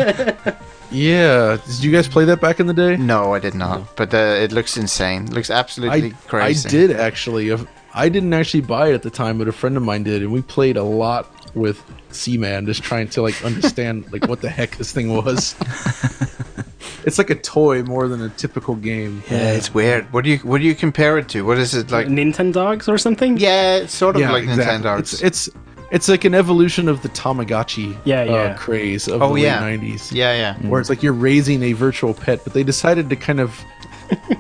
[SPEAKER 2] [laughs] yeah, did you guys play that back in the
[SPEAKER 1] [laughs]
[SPEAKER 2] day?
[SPEAKER 1] no, I did not, but uh, it looks insane. It looks absolutely
[SPEAKER 2] I,
[SPEAKER 1] crazy.
[SPEAKER 2] I did actually. If- I didn't actually buy it at the time, but a friend of mine did, and we played a lot with Seaman, just trying to like understand [laughs] like what the heck this thing was. [laughs] it's like a toy more than a typical game.
[SPEAKER 1] Yeah, it's weird. What do you what do you compare it to? What is it like?
[SPEAKER 4] Nintendogs or something?
[SPEAKER 1] Yeah, it's sort of like
[SPEAKER 2] exactly.
[SPEAKER 1] Nintendo.
[SPEAKER 2] It's, it's it's like an evolution of the Tamagotchi
[SPEAKER 4] Yeah, yeah.
[SPEAKER 2] Uh, craze of
[SPEAKER 1] Oh,
[SPEAKER 2] the
[SPEAKER 1] yeah.
[SPEAKER 2] late 90s.
[SPEAKER 1] yeah, yeah.
[SPEAKER 2] Where it's like you're raising a virtual pet, but they decided to kind of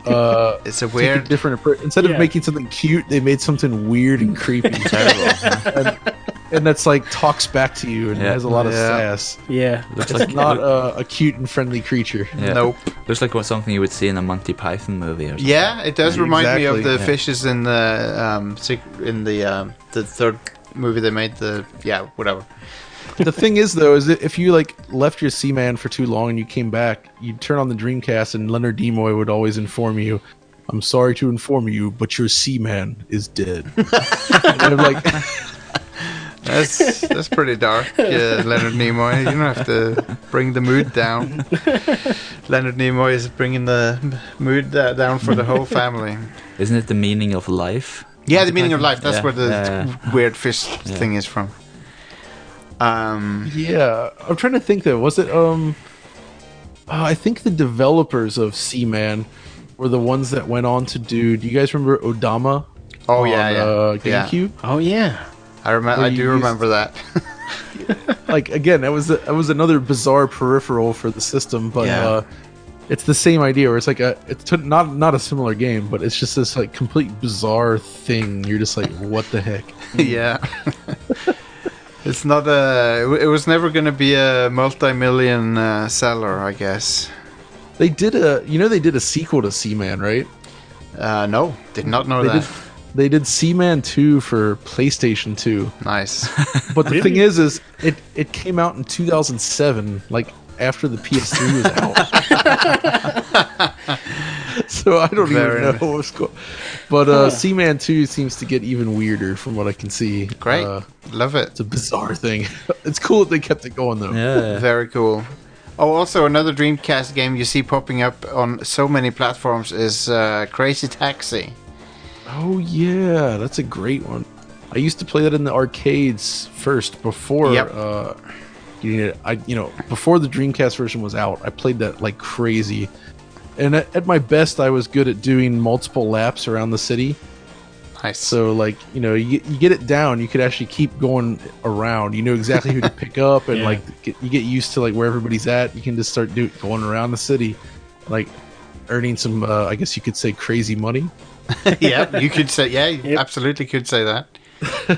[SPEAKER 2] uh,
[SPEAKER 1] It's a
[SPEAKER 2] take a
[SPEAKER 1] weird.
[SPEAKER 2] different approach. Instead
[SPEAKER 4] Yeah.
[SPEAKER 2] of making something cute, they made something weird and creepy.
[SPEAKER 3] Terrible.
[SPEAKER 2] and that's like talks back to you and
[SPEAKER 3] Yeah.
[SPEAKER 2] has a lot of
[SPEAKER 1] Yeah.
[SPEAKER 2] sass.
[SPEAKER 4] Yeah.
[SPEAKER 3] Looks
[SPEAKER 2] It's
[SPEAKER 3] like
[SPEAKER 2] not uh, a cute and friendly creature.
[SPEAKER 3] yeah.
[SPEAKER 1] Nope.
[SPEAKER 3] Looks like what- something you would see in a Monty Python movie or something.
[SPEAKER 1] Yeah, it does remind me of
[SPEAKER 2] Exactly.
[SPEAKER 1] the
[SPEAKER 2] Yeah.
[SPEAKER 1] fishes in the um sec- in the um the third movie they made. The yeah, whatever.
[SPEAKER 2] the thing is, though, is that if you like left your Seaman for too long and you came back, you'd turn on the Dreamcast and Leonard Nimoy would always inform you, "I'm sorry to inform you, but your Seaman is dead." [laughs] and I'm like, [laughs]
[SPEAKER 1] That's that's pretty dark. Yeah, Leonard Nimoy. You don't have to bring the mood
[SPEAKER 2] [laughs]
[SPEAKER 1] down. Leonard Nimoy is bringing the m- mood uh, down for the whole family.
[SPEAKER 2] [laughs]
[SPEAKER 3] Isn't it the meaning of life?
[SPEAKER 1] Yeah, the meaning of life. That's
[SPEAKER 3] Yeah,
[SPEAKER 1] where the
[SPEAKER 3] yeah,
[SPEAKER 1] weird fish thing is from. Um.
[SPEAKER 2] yeah, I'm trying to think. Though, was it? Um, uh, I think the developers of Seaman were the ones that went on to do. Do you guys remember Odama?
[SPEAKER 1] Oh
[SPEAKER 2] on,
[SPEAKER 1] yeah, yeah.
[SPEAKER 2] uh,
[SPEAKER 1] Yeah.
[SPEAKER 2] GameCube.
[SPEAKER 4] Oh, yeah.
[SPEAKER 1] I remember.
[SPEAKER 2] Where
[SPEAKER 1] I
[SPEAKER 2] you
[SPEAKER 1] do
[SPEAKER 2] used-
[SPEAKER 1] remember that.
[SPEAKER 2] like again that was that was another bizarre peripheral for the system but
[SPEAKER 1] Yeah.
[SPEAKER 2] uh it's the same idea where it's like a it's t- not not a similar game but it's just this like complete bizarre thing you're just like what the heck
[SPEAKER 1] yeah. [laughs] it's not a. It was never going to be a multi-million uh, seller, I guess.
[SPEAKER 2] they did a you know they did a sequel to seaman right
[SPEAKER 1] Uh, no, did not know
[SPEAKER 2] they
[SPEAKER 1] that.
[SPEAKER 2] did they did seaman 2 for playstation 2
[SPEAKER 1] Nice.
[SPEAKER 2] but the thing is is it it came out in 2007 like after the ps3 was out [laughs] so i don't
[SPEAKER 1] Very
[SPEAKER 2] even
[SPEAKER 1] nice.
[SPEAKER 2] know what was going but uh seaman 2 seems to get even weirder from what i can see
[SPEAKER 1] Great.
[SPEAKER 2] Uh,
[SPEAKER 1] Love it.
[SPEAKER 2] it's a bizarre thing [laughs] it's cool that they kept it going though
[SPEAKER 3] Yeah.
[SPEAKER 1] Very cool. Oh, also another Dreamcast game you see popping up on so many platforms is uh, Crazy Taxi.
[SPEAKER 2] oh yeah that's a great one i used to play that in the arcades first before
[SPEAKER 1] Yep.
[SPEAKER 2] uh getting it i you know before the dreamcast version was out i played that like crazy and at, at my best i was good at doing multiple laps around the city
[SPEAKER 1] Nice.
[SPEAKER 2] So like you know you, you get it down, you could actually keep going around. You know exactly who to pick up, and
[SPEAKER 4] Yeah.
[SPEAKER 2] like get, you get used to like where everybody's at. You can just start do going around the city, like earning some. Uh, I guess you could say crazy money.
[SPEAKER 1] [laughs] yeah, you could say yeah, you
[SPEAKER 4] Yep.
[SPEAKER 1] absolutely could say that.
[SPEAKER 2] [laughs]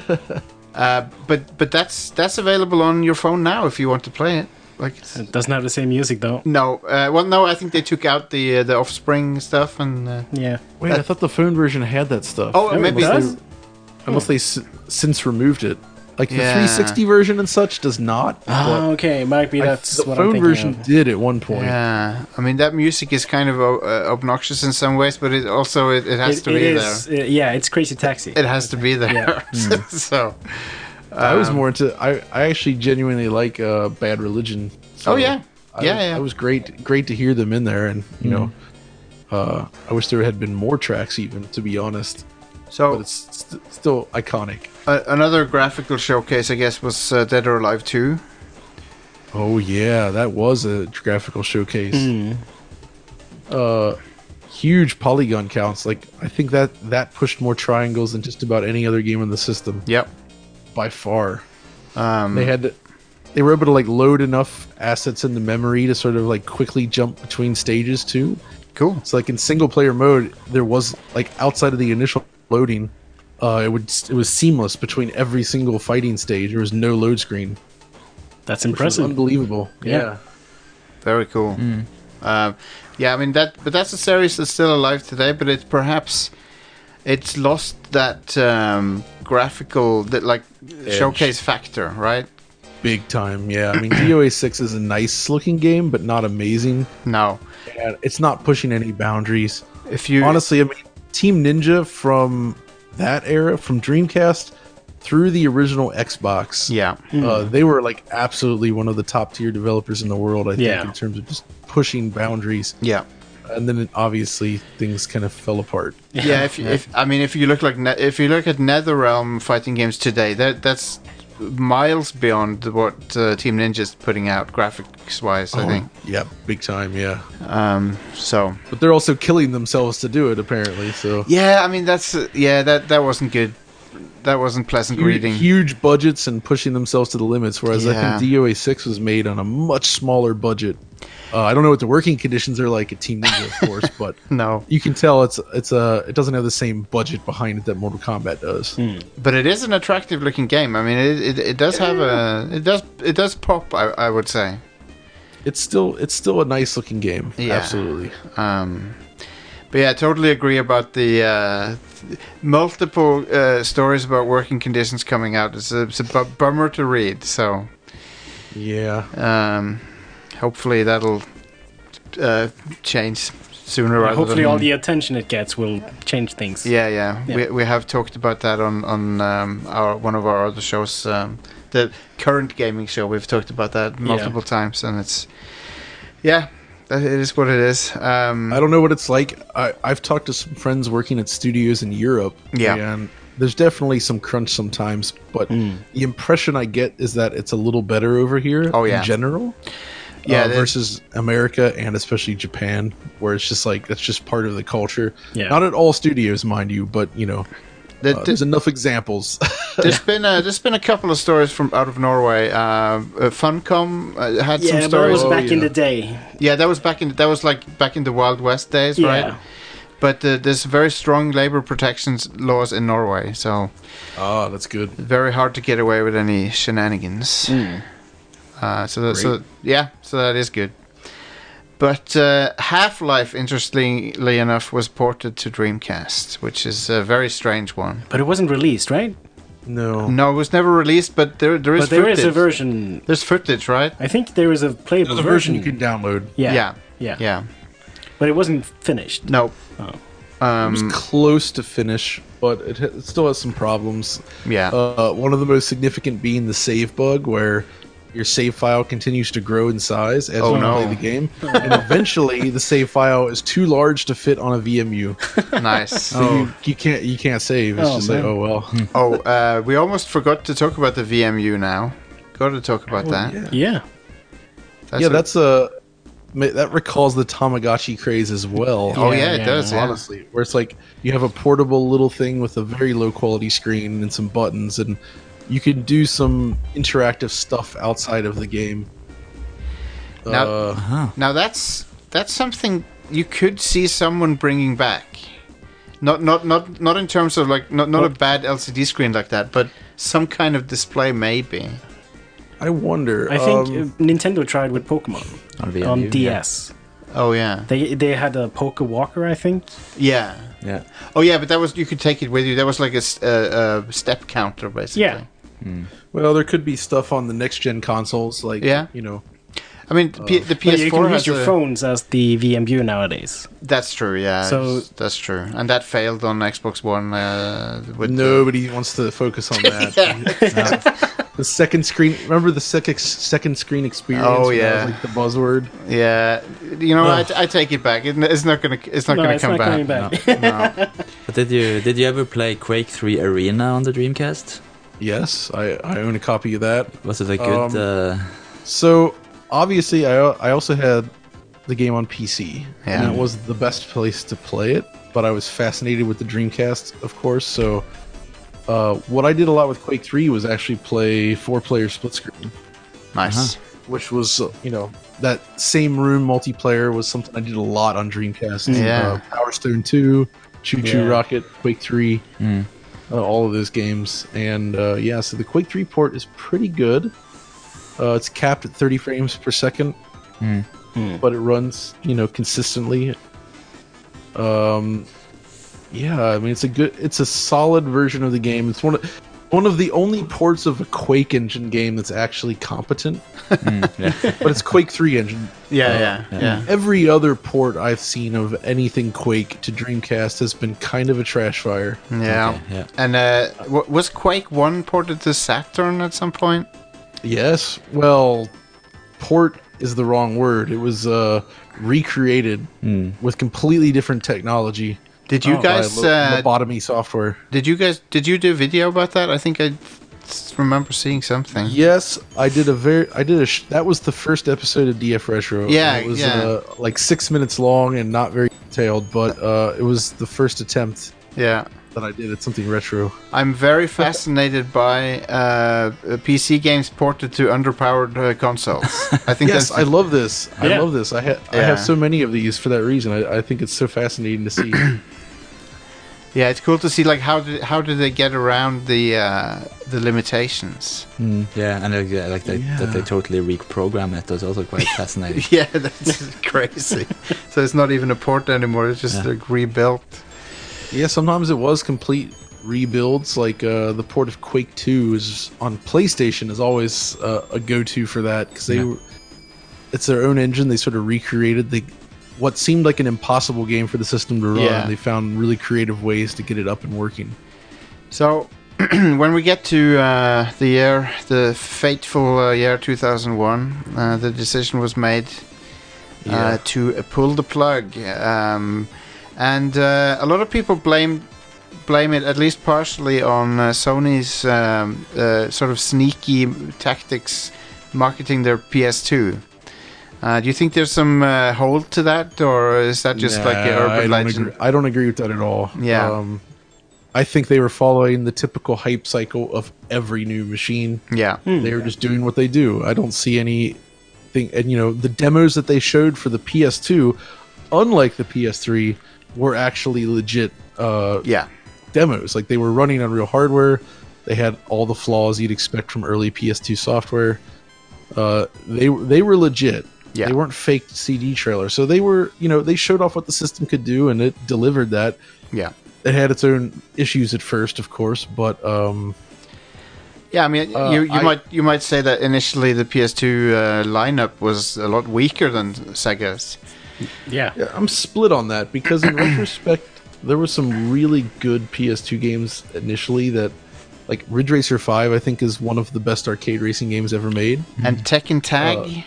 [SPEAKER 1] uh, but but that's that's available on your phone now if you want to play it. Like it's,
[SPEAKER 4] It doesn't have the same music, though.
[SPEAKER 1] no, uh, well no, I think they took out the uh, the offspring stuff and uh,
[SPEAKER 4] Yeah.
[SPEAKER 2] Wait, I thought the phone version had that stuff.
[SPEAKER 1] oh
[SPEAKER 4] Oh, it
[SPEAKER 1] maybe
[SPEAKER 4] does?
[SPEAKER 2] unless they s- since removed it. Like
[SPEAKER 1] Yeah. Uh,
[SPEAKER 2] the 360 version and such does not. but
[SPEAKER 4] Oh, okay. Might be
[SPEAKER 2] I-
[SPEAKER 4] that's
[SPEAKER 2] the
[SPEAKER 4] what I'm
[SPEAKER 2] phone
[SPEAKER 4] thinking
[SPEAKER 2] version
[SPEAKER 4] of.
[SPEAKER 2] did at one point.
[SPEAKER 1] Yeah, I mean that music is kind of o- uh, obnoxious in some ways, but it also it, it has
[SPEAKER 4] It-
[SPEAKER 1] to be
[SPEAKER 4] it
[SPEAKER 1] there.
[SPEAKER 4] is, uh, yeah, it's Crazy Taxi.
[SPEAKER 1] It has to be there.
[SPEAKER 4] Yeah.
[SPEAKER 1] [laughs] so,
[SPEAKER 2] I
[SPEAKER 1] Um,
[SPEAKER 2] was more into. I, I actually genuinely like uh, Bad Religion. so
[SPEAKER 1] Oh, yeah.
[SPEAKER 2] I
[SPEAKER 1] Yeah,
[SPEAKER 2] was,
[SPEAKER 1] yeah.
[SPEAKER 2] It was great. Great to hear them in there, and you know,
[SPEAKER 1] Mm-hmm.
[SPEAKER 2] uh, I wish there had been more tracks, even to be honest. But
[SPEAKER 1] so
[SPEAKER 2] it's st- still iconic.
[SPEAKER 1] uh, another graphical showcase, I guess, was uh, Dead or Alive Two.
[SPEAKER 2] Oh yeah, that was a graphical showcase.
[SPEAKER 4] Mm-hmm.
[SPEAKER 2] Uh, huge polygon counts. Like I think that that pushed more triangles than just about any other game in the system
[SPEAKER 1] Yep.
[SPEAKER 2] by far.
[SPEAKER 1] Um,
[SPEAKER 2] They had to, they were able to like load enough assets into memory to sort of like quickly jump between stages too.
[SPEAKER 1] cool.
[SPEAKER 2] So like in single player mode, there was like outside of the initial loading, uh, it would it was seamless between every single fighting stage. There was no load screen.
[SPEAKER 4] That's
[SPEAKER 2] which was
[SPEAKER 4] impressive.
[SPEAKER 2] unbelievable.
[SPEAKER 4] Yeah.
[SPEAKER 1] Very cool. Um, yeah, I mean that, but that's a series that's still alive today. But it's perhaps it's lost that um, graphical that like showcase factor, right?
[SPEAKER 2] Big time, yeah. I mean, DOA 6 is a nice looking game, but not amazing.
[SPEAKER 1] No,
[SPEAKER 2] And It's not pushing any boundaries.
[SPEAKER 1] if you
[SPEAKER 2] Honestly, I mean, Team Ninja from that era, from Dreamcast through the original Xbox,
[SPEAKER 1] yeah,
[SPEAKER 2] uh, they were like absolutely one of the top tier developers in the world, I think,
[SPEAKER 4] Yeah.
[SPEAKER 2] in terms of just pushing boundaries.
[SPEAKER 1] yeah.
[SPEAKER 2] And then it, obviously things kind of fell apart.
[SPEAKER 1] yeah, if, if I mean, if you look like ne- if you look at NetherRealm fighting games today, that that's miles beyond what uh, Team Ninja's putting out graphics wise. I think Um,
[SPEAKER 2] Yeah, big time, yeah.
[SPEAKER 1] so.
[SPEAKER 2] But they're also killing themselves to do it, apparently. So
[SPEAKER 1] Yeah, I mean that's uh, yeah that that wasn't good. That wasn't pleasant
[SPEAKER 2] hu-
[SPEAKER 1] reading.
[SPEAKER 2] huge budgets and pushing themselves to the limits. Whereas I
[SPEAKER 1] Yeah.
[SPEAKER 2] think DOA six was made on a much smaller budget. Uh, I don't know what the working conditions are like at Team Ninja,
[SPEAKER 1] [laughs]
[SPEAKER 2] of course, but
[SPEAKER 1] No,
[SPEAKER 2] you can tell it's it's a it doesn't have the same budget behind it that Mortal Kombat does.
[SPEAKER 1] but it is an attractive looking game. I mean, it it, it does have a it does it does pop. I, I would say.
[SPEAKER 2] It's still it's still a nice looking game.
[SPEAKER 1] Yeah.
[SPEAKER 2] Absolutely.
[SPEAKER 1] Um, but yeah, I totally agree about the uh, th- multiple uh, stories about working conditions coming out. It's a, it's a bu- bummer to read. So
[SPEAKER 2] Yeah.
[SPEAKER 1] um, hopefully that'll uh, change sooner rather
[SPEAKER 4] Hopefully,
[SPEAKER 1] than
[SPEAKER 4] all the attention it gets will change things.
[SPEAKER 1] yeah, yeah,
[SPEAKER 4] Yeah.
[SPEAKER 1] We, we have talked about that on on um, our one of our other shows, um, the current gaming show. We've talked about that multiple times, and it's yeah, that, it is what it is. Um,
[SPEAKER 2] I don't know what it's like. I, I've talked to some friends working at studios in Europe.
[SPEAKER 1] Yeah. Hmm.
[SPEAKER 2] And there's definitely some crunch sometimes, but the impression I get is that it's a little better over here
[SPEAKER 1] Oh, yeah.
[SPEAKER 2] in general.
[SPEAKER 1] Yeah,
[SPEAKER 2] uh,
[SPEAKER 1] that-
[SPEAKER 2] versus America and especially Japan, where it's just like that's just part of the culture.
[SPEAKER 4] Yeah.
[SPEAKER 2] Not at all studios, mind you, but you know,
[SPEAKER 1] the-
[SPEAKER 2] uh,
[SPEAKER 1] the-
[SPEAKER 2] there's
[SPEAKER 1] [laughs]
[SPEAKER 2] enough examples.
[SPEAKER 1] There's been a, there's been a couple of stories from out of Norway. Uh, uh, Funcom uh, had
[SPEAKER 4] Yeah,
[SPEAKER 1] some
[SPEAKER 4] but it
[SPEAKER 1] stories.
[SPEAKER 4] was
[SPEAKER 2] Oh,
[SPEAKER 4] back in
[SPEAKER 2] yeah.
[SPEAKER 4] the day.
[SPEAKER 1] yeah, that was back in that was like back in the Wild West days,
[SPEAKER 4] Yeah.
[SPEAKER 1] right? But uh, there's very strong labor protections laws in Norway, so Ah,
[SPEAKER 2] oh, that's good.
[SPEAKER 1] very hard to get away with any shenanigans. Uh, so, that, so
[SPEAKER 2] Hmm. Great.
[SPEAKER 1] yeah, so that is good. But uh, Half Life, interestingly enough, was ported to Dreamcast, which is a very strange one.
[SPEAKER 4] But it wasn't released, right?
[SPEAKER 2] No.
[SPEAKER 1] No, it was never released, but there there is
[SPEAKER 4] but there
[SPEAKER 1] footage.
[SPEAKER 4] is a version.
[SPEAKER 1] There's footage, right?
[SPEAKER 4] I think there is a playable
[SPEAKER 2] There's a version
[SPEAKER 4] version.
[SPEAKER 2] you can download.
[SPEAKER 4] yeah.
[SPEAKER 1] yeah,
[SPEAKER 4] yeah. Yeah.
[SPEAKER 1] yeah.
[SPEAKER 4] But it wasn't finished.
[SPEAKER 1] No.
[SPEAKER 2] It
[SPEAKER 1] Mm.
[SPEAKER 2] was close to finish, but it, ha- it still has some problems.
[SPEAKER 1] Yeah.
[SPEAKER 2] Uh, one of the most significant being the save bug, where your save file continues to grow in size as
[SPEAKER 1] Oh,
[SPEAKER 2] you
[SPEAKER 1] no.
[SPEAKER 2] play the game, and eventually the save file is too large to fit on a VMU.
[SPEAKER 4] [laughs]
[SPEAKER 1] nice.
[SPEAKER 2] So you, you can't you can't save. It's
[SPEAKER 4] Oh,
[SPEAKER 2] just
[SPEAKER 4] man.
[SPEAKER 2] like oh well.
[SPEAKER 1] Oh, uh, we almost forgot to talk about the VMU now. Got to talk about that.
[SPEAKER 2] Oh, yeah.
[SPEAKER 4] Yeah.
[SPEAKER 1] That's
[SPEAKER 2] yeah,
[SPEAKER 1] a-
[SPEAKER 2] that's a ma- that recalls the Tamagotchi craze as well.
[SPEAKER 1] Oh, yeah,
[SPEAKER 4] Yeah,
[SPEAKER 1] it
[SPEAKER 4] yeah,
[SPEAKER 1] does. Yeah.
[SPEAKER 2] honestly, where it's like you have a portable little thing with a very low quality screen and some buttons, and you can do some interactive stuff outside of the game.
[SPEAKER 1] Now-
[SPEAKER 2] uh,
[SPEAKER 1] Now that's that's something you could see someone bringing back. Not not not not in terms of like not not a bad LCD screen like that, but some kind of display maybe.
[SPEAKER 2] I wonder.
[SPEAKER 4] I think
[SPEAKER 2] um,
[SPEAKER 4] uh, Nintendo tried with Pokemon
[SPEAKER 3] On
[SPEAKER 4] on
[SPEAKER 3] VMU, yeah.
[SPEAKER 4] DS.
[SPEAKER 1] Oh yeah,
[SPEAKER 4] They they had a Poker Walker, I think.
[SPEAKER 1] yeah.
[SPEAKER 3] Yeah.
[SPEAKER 1] Oh yeah, but that was you could take it with you. That was like a, s- a- a step counter basically.
[SPEAKER 4] Yeah.
[SPEAKER 2] Well, there could be stuff on the next gen consoles, like
[SPEAKER 1] Yeah.
[SPEAKER 2] you know,
[SPEAKER 1] I mean, the P- the
[SPEAKER 4] But you
[SPEAKER 1] PS4
[SPEAKER 4] can
[SPEAKER 1] has
[SPEAKER 4] use your
[SPEAKER 1] a-
[SPEAKER 4] phones as the VMU nowadays.
[SPEAKER 1] That's true. Yeah.
[SPEAKER 4] So-
[SPEAKER 1] that's true, and that failed on Xbox One. Uh, with the-
[SPEAKER 2] nobody wants to focus
[SPEAKER 1] [laughs]
[SPEAKER 2] on that. [laughs] The second screen, remember the second second screen experience?
[SPEAKER 1] Oh,
[SPEAKER 2] when that
[SPEAKER 1] yeah.
[SPEAKER 2] was, like the buzzword.
[SPEAKER 1] yeah. You know, I, I take it back. It, it's not gonna. It's not
[SPEAKER 4] No,
[SPEAKER 1] gonna
[SPEAKER 4] it's
[SPEAKER 1] come
[SPEAKER 4] not coming
[SPEAKER 1] back.
[SPEAKER 4] back.
[SPEAKER 3] But did you did you ever play Quake 3 Arena on the Dreamcast?
[SPEAKER 2] Yes, I, I own a copy of that.
[SPEAKER 3] Was it a good?
[SPEAKER 2] Um,
[SPEAKER 3] uh,
[SPEAKER 2] So obviously, I I also had the game on PC,
[SPEAKER 1] Yeah.
[SPEAKER 2] and that was the best place to play it. But I was fascinated with the Dreamcast, of course. So uh, what I did a lot with Quake Three was actually play four player split screen,
[SPEAKER 1] Nice.
[SPEAKER 2] which was uh, you know that same room multiplayer was something I did a lot on Dreamcast.
[SPEAKER 1] Yeah.
[SPEAKER 2] uh, Power Stone Two, Choo Choo
[SPEAKER 4] Yeah.
[SPEAKER 2] Rocket, Quake Three. Uh, all of those games, and uh, yeah, so the Quake 3 port is pretty good. Uh, it's capped at 30 frames per second, but it runs you know consistently. Um, yeah, I mean it's a good, it's a solid version of the game. It's one of one of the only ports of a Quake engine game that's actually competent, [laughs] but it's Quake 3 engine.
[SPEAKER 1] Yeah, yeah, yeah,
[SPEAKER 2] Every other port I've seen of anything Quake to Dreamcast has been kind of a trash fire.
[SPEAKER 1] Yeah.
[SPEAKER 3] Okay, yeah.
[SPEAKER 1] And uh, w- was Quake One ported to Saturn at some point?
[SPEAKER 2] Yes. Well, port is the wrong word. It was uh, recreated with completely different technology.
[SPEAKER 1] Hmm.
[SPEAKER 2] Oh,
[SPEAKER 1] Did
[SPEAKER 3] Oh,
[SPEAKER 1] you
[SPEAKER 2] by
[SPEAKER 1] guys?
[SPEAKER 2] lo-
[SPEAKER 1] uh,
[SPEAKER 2] lobotomy software?
[SPEAKER 1] did you guys? Did you do a video about that? I think I s- remember seeing something.
[SPEAKER 2] Yes, I did a very. I did a. Sh- that was the first episode of DF Retro. and
[SPEAKER 1] Yeah,
[SPEAKER 2] it was
[SPEAKER 1] yeah.
[SPEAKER 2] Uh, like six minutes long and not very detailed, but uh, it was the first attempt
[SPEAKER 1] yeah.
[SPEAKER 2] that I did at something retro.
[SPEAKER 1] I'm very fascinated by uh, PC games ported to underpowered uh,
[SPEAKER 3] [laughs]
[SPEAKER 1] consoles. I think
[SPEAKER 2] Yes,
[SPEAKER 1] that's
[SPEAKER 2] I love this. I
[SPEAKER 4] Yeah.
[SPEAKER 2] love this. I, ha- I
[SPEAKER 1] Yeah.
[SPEAKER 2] have so many of these for that reason. I, I think it's so fascinating to
[SPEAKER 1] [clears throat]
[SPEAKER 2] see.
[SPEAKER 1] yeah. It's cool to see like how did how do they get around the uh, the limitations? [laughs]
[SPEAKER 3] Yeah, and uh, yeah, like they, that they
[SPEAKER 2] Yeah.
[SPEAKER 3] totally reprogram it was also quite
[SPEAKER 2] [laughs]
[SPEAKER 3] fascinating.
[SPEAKER 1] Yeah,
[SPEAKER 3] [laughs]
[SPEAKER 1] that's crazy. so it's not even a port anymore. It's just
[SPEAKER 3] Yeah.
[SPEAKER 1] like rebuilt.
[SPEAKER 2] Yeah, sometimes it was complete rebuilds. Like uh, the port of Quake Two is on PlayStation is always uh, a go-to for that because they
[SPEAKER 3] Yeah.
[SPEAKER 2] were it's their own engine. They sort of recreated the what seemed like an impossible game for the system to run.
[SPEAKER 1] Yeah.
[SPEAKER 2] They found really creative ways to get it up and working.
[SPEAKER 1] So [clears throat] when we get to uh, the year, the fateful uh, year 2001, uh, the decision was made uh,
[SPEAKER 2] Yeah.
[SPEAKER 1] to uh, pull the plug, um, and uh, a lot of people blame blame it at least partially on uh, Sony's um, uh, sort of sneaky tactics marketing their PS2. Uh, do you think there's some uh, hold to that, or is that just like an
[SPEAKER 2] Nah, I
[SPEAKER 1] urban
[SPEAKER 2] don't
[SPEAKER 1] legend?
[SPEAKER 2] Agree, I don't agree with that at all.
[SPEAKER 1] Yeah.
[SPEAKER 2] Um, I think they were following the typical hype cycle of every new machine.
[SPEAKER 1] Yeah,
[SPEAKER 2] they were just doing what they do. I don't see anything, and you know the demos that they showed for the PS2, unlike the PS3, were actually legit uh,
[SPEAKER 1] yeah,
[SPEAKER 2] demos. Like they were running on real hardware. They had all the flaws you'd expect from early PS2 software. Uh, they they were legit.
[SPEAKER 1] Yeah.
[SPEAKER 2] They weren't fake CD trailers. So they were, you know, they showed off what the system could do, and it delivered that.
[SPEAKER 1] yeah.
[SPEAKER 2] It had its own issues at first, of course, but um,
[SPEAKER 1] Yeah, I mean,
[SPEAKER 2] Uh,
[SPEAKER 1] you, you
[SPEAKER 2] I-
[SPEAKER 1] might you might say that initially the PS2 uh, lineup was a lot weaker than Sega's.
[SPEAKER 4] [laughs] yeah.
[SPEAKER 2] Yeah, I'm split on that because in retrospect, there were some really good PS2 games initially that, like Ridge Racer 5, I think is one of the best arcade racing games ever made.
[SPEAKER 1] And Tekken Tag,
[SPEAKER 2] Uh,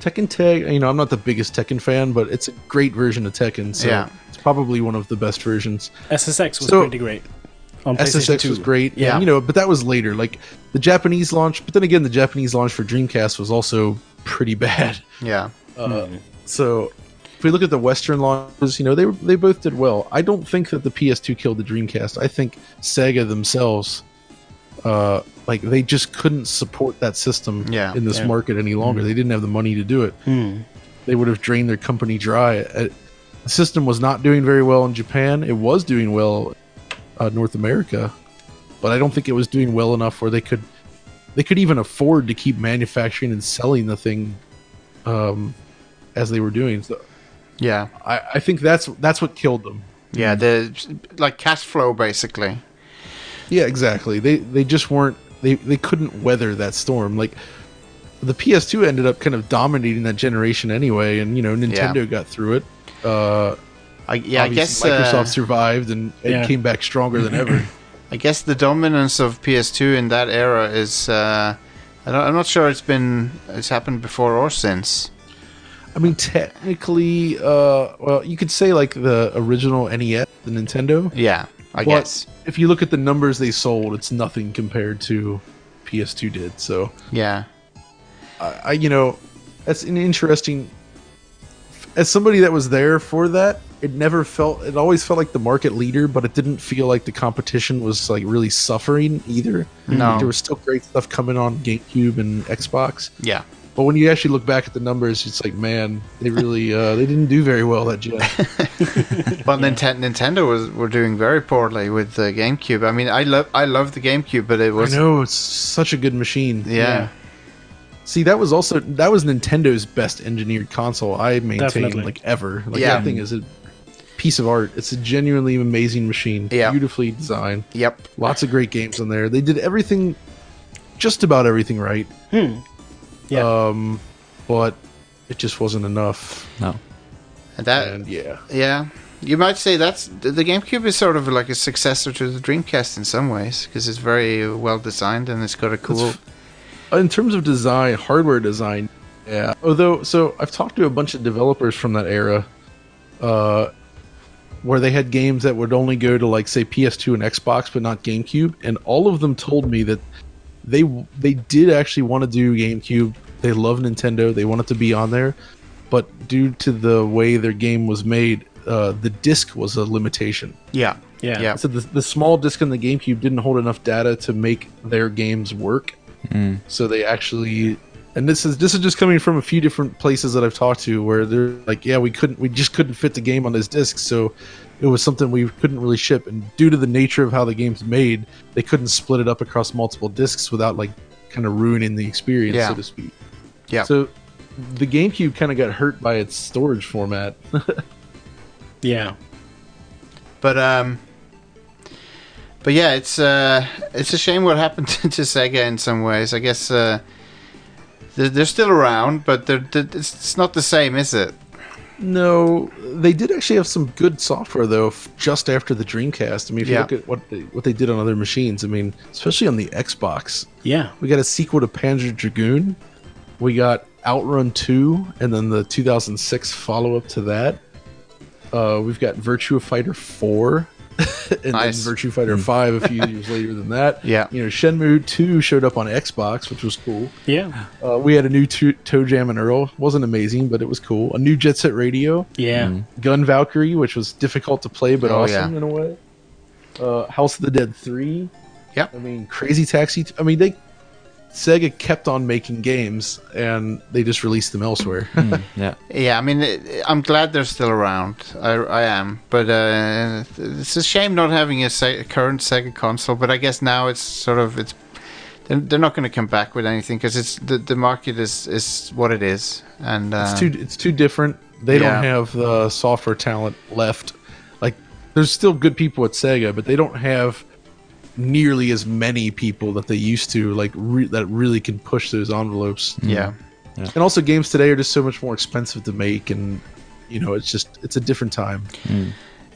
[SPEAKER 2] Tekken Tag, you know, I'm not the biggest Tekken fan, but it's a great version of Tekken, so
[SPEAKER 1] Yeah.
[SPEAKER 2] it's probably one of the best versions.
[SPEAKER 4] SSX was
[SPEAKER 2] So-
[SPEAKER 4] pretty great. On PlayStation
[SPEAKER 2] SSX
[SPEAKER 4] 2.
[SPEAKER 2] was great,
[SPEAKER 1] Yeah.
[SPEAKER 2] yeah, you know, but that was later. Like the Japanese launch, but then again, the Japanese launch for Dreamcast was also pretty [laughs] bad.
[SPEAKER 1] yeah,
[SPEAKER 2] So if we look at the Western launches, you know, they they both did well. I don't think that the PS2 killed the Dreamcast. I think Sega themselves, uh, like they just couldn't support that system
[SPEAKER 1] Yeah.
[SPEAKER 2] in this
[SPEAKER 4] Yeah.
[SPEAKER 2] market any longer. They didn't have the money to do it. They would have drained their company dry. Uh, The system was not doing very well in Japan. It was doing well uh, North America, but I don't think it was doing well enough where they could they could even afford to keep manufacturing and selling the thing um, as they were doing. So
[SPEAKER 1] Yeah.
[SPEAKER 2] I, I think that's that's what killed them. hmm.
[SPEAKER 1] Yeah. The like cash flow basically.
[SPEAKER 2] Yeah, exactly. They they just weren't they they couldn't weather that storm. Like the PS2 ended up kind of dominating that generation anyway, and you know Nintendo got through it. Uh,
[SPEAKER 1] I, yeah. I guess
[SPEAKER 2] obviously Microsoft
[SPEAKER 1] uh,
[SPEAKER 2] survived and, and
[SPEAKER 4] Yeah.
[SPEAKER 2] came back stronger than
[SPEAKER 1] [clears throat]
[SPEAKER 2] ever.
[SPEAKER 1] I guess the dominance of PS2 in that era is. Uh, I don't, I'm not sure it's been it's happened before or since.
[SPEAKER 2] I mean, technically, uh, well, you could say like the original NES, the Nintendo.
[SPEAKER 1] Yeah. I
[SPEAKER 2] but
[SPEAKER 1] guess.
[SPEAKER 2] if you look at the numbers they sold, it's nothing compared to PS2 did. So
[SPEAKER 1] Yeah.
[SPEAKER 2] I, I you know, that's an interesting. As somebody that was there for that, it never felt. It always felt like the market leader, but it didn't feel like the competition was like really suffering either.
[SPEAKER 1] No.
[SPEAKER 2] Like, there was still great stuff coming on GameCube and Xbox.
[SPEAKER 1] Yeah.
[SPEAKER 2] [laughs] But when you actually look back at the numbers, it's like, man, they really uh, they didn't do very well that gen.
[SPEAKER 1] Well, Ninten- Nintendo was were doing very poorly with the GameCube. I mean, I love I love the GameCube, but it
[SPEAKER 2] I
[SPEAKER 1] was
[SPEAKER 2] know it's such a good machine.
[SPEAKER 1] yeah.
[SPEAKER 2] See, that was also that was Nintendo's best engineered console. I maintain
[SPEAKER 4] Definitely.
[SPEAKER 2] like ever. Like
[SPEAKER 1] Yeah.
[SPEAKER 2] that thing is a piece of art. It's a genuinely amazing machine.
[SPEAKER 1] Yeah.
[SPEAKER 2] Beautifully designed.
[SPEAKER 1] Yep.
[SPEAKER 2] Lots of great games on there. They did everything, just about everything right.
[SPEAKER 4] Hmm. Yeah.
[SPEAKER 1] uh,
[SPEAKER 2] Um, but it just wasn't enough.
[SPEAKER 3] No.
[SPEAKER 1] And that
[SPEAKER 2] and yeah,
[SPEAKER 1] yeah. You might say that's the the GameCube is sort of like a successor to the Dreamcast in some ways because it's very well designed and it's got a cool.
[SPEAKER 2] Uh, in terms of design, hardware design, yeah. Although, so I've talked to a bunch of developers from that era, uh, where they had games that would only go to like say PS2 and Xbox, but not GameCube, and all of them told me that they they did actually want to do GameCube. They love Nintendo. They want it to be on there, but due to the way their game was made, uh, the disc was a limitation.
[SPEAKER 1] Yeah.
[SPEAKER 4] Yeah.
[SPEAKER 1] Yeah.
[SPEAKER 2] So the, the small disc in the GameCube didn't hold enough data to make their games work. So they actually, and this is this is just coming from a few different places that I've talked to where they're like, yeah, we couldn't, we just couldn't fit the game on this disc, so it was something we couldn't really ship. And due to the nature of how the game's made, they couldn't split it up across multiple discs without like kind of ruining the experience,
[SPEAKER 1] Yeah.
[SPEAKER 2] so to speak.
[SPEAKER 1] Yeah.
[SPEAKER 2] So the GameCube kind of got hurt by its storage format.
[SPEAKER 4] Yeah.
[SPEAKER 1] But um. But yeah, it's uh, it's a shame what happened [laughs] to, to Sega in some ways. I guess uh, they're, they're still around, but they're, they're, it's, it's not the same, is it?
[SPEAKER 2] No, they did actually have some good software though. f- Just after the Dreamcast, I mean, if
[SPEAKER 1] Yeah.
[SPEAKER 2] you look at what they, what they did on other machines, I mean, especially on the Xbox,
[SPEAKER 4] Yeah.
[SPEAKER 2] we got a sequel to Panzer Dragoon, we got Outrun Two, and then the 2006 follow up to that. Uh, we've got Virtua Fighter Four, [laughs] and
[SPEAKER 1] Nice. Hmm.
[SPEAKER 2] then Virtua Fighter Five a few years later than
[SPEAKER 1] [laughs]
[SPEAKER 2] that.
[SPEAKER 1] Yeah.
[SPEAKER 2] you know, Shenmue Two showed up on Xbox, which was cool.
[SPEAKER 4] Yeah.
[SPEAKER 2] Uh, we had a new to- Toe Jam and Earl, wasn't amazing, but it was cool. A new Jet Set Radio.
[SPEAKER 4] Yeah.
[SPEAKER 1] Mm-hmm.
[SPEAKER 2] Gun Valkyrie, which was difficult to play but
[SPEAKER 1] Oh,
[SPEAKER 2] awesome
[SPEAKER 1] yeah.
[SPEAKER 2] in a way. Uh, House of the Dead Three.
[SPEAKER 1] Yep.
[SPEAKER 2] I mean, Crazy Taxi. I mean, they Sega kept on making games and they just released them elsewhere. [laughs]
[SPEAKER 1] Hmm.
[SPEAKER 3] Mm, yeah.
[SPEAKER 1] Yeah, I mean, it- I'm glad they're still around. I, I am, but uh, it's a shame not having a, Se- a current Sega console. But I guess now it's sort of it's they're, they're not going to come back with anything because it's the, the market is is what it is, and uh,
[SPEAKER 2] it's too it's too different. They
[SPEAKER 1] Yeah.
[SPEAKER 2] don't have the software talent left. Like, there's still good people at Sega, but they don't have nearly as many people that they used to. Like, re- that really can push those envelopes.
[SPEAKER 1] yeah.
[SPEAKER 2] and also games today are just so much more expensive to make and you know it's just it's a different time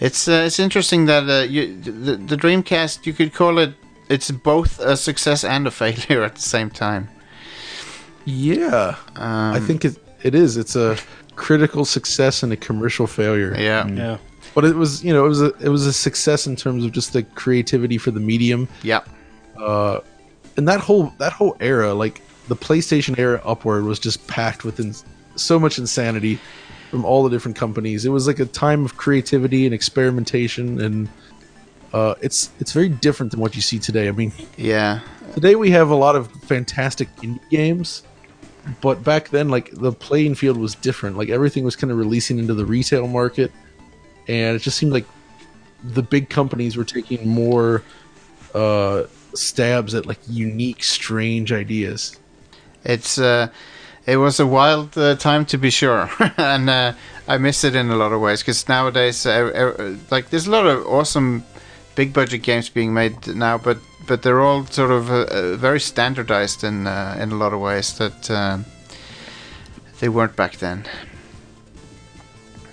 [SPEAKER 1] It's uh, it's interesting that uh, you, the, the Dreamcast you could call it. It's both a success and a [laughs] failure at the same time.
[SPEAKER 2] yeah
[SPEAKER 1] Um,
[SPEAKER 2] i think it, it is it's a critical success and a commercial failure
[SPEAKER 1] Yeah.
[SPEAKER 4] Yeah.
[SPEAKER 2] but it was you know it was a it was a success in terms of just the creativity for the medium
[SPEAKER 1] Yeah.
[SPEAKER 2] uh and that whole that whole era like the playstation era upward was just packed with ins so much insanity from all the different companies it was like a time of creativity and experimentation and uh, it's it's very different than what you see today. I mean,
[SPEAKER 1] Yeah.
[SPEAKER 2] Today we have a lot of fantastic indie games, but back then, like the playing field was different. Like everything was kind of releasing into the retail market, and it just seemed like the big companies were taking more uh, stabs at like unique, strange ideas.
[SPEAKER 1] It's uh, it was a wild uh, time to be sure, [laughs] and uh, I miss it in a lot of ways because nowadays, uh, uh, like, there's a lot of awesome big budget games being made now, but but they're all sort of uh, uh, very standardized in uh, in a lot of ways that um they weren't back then.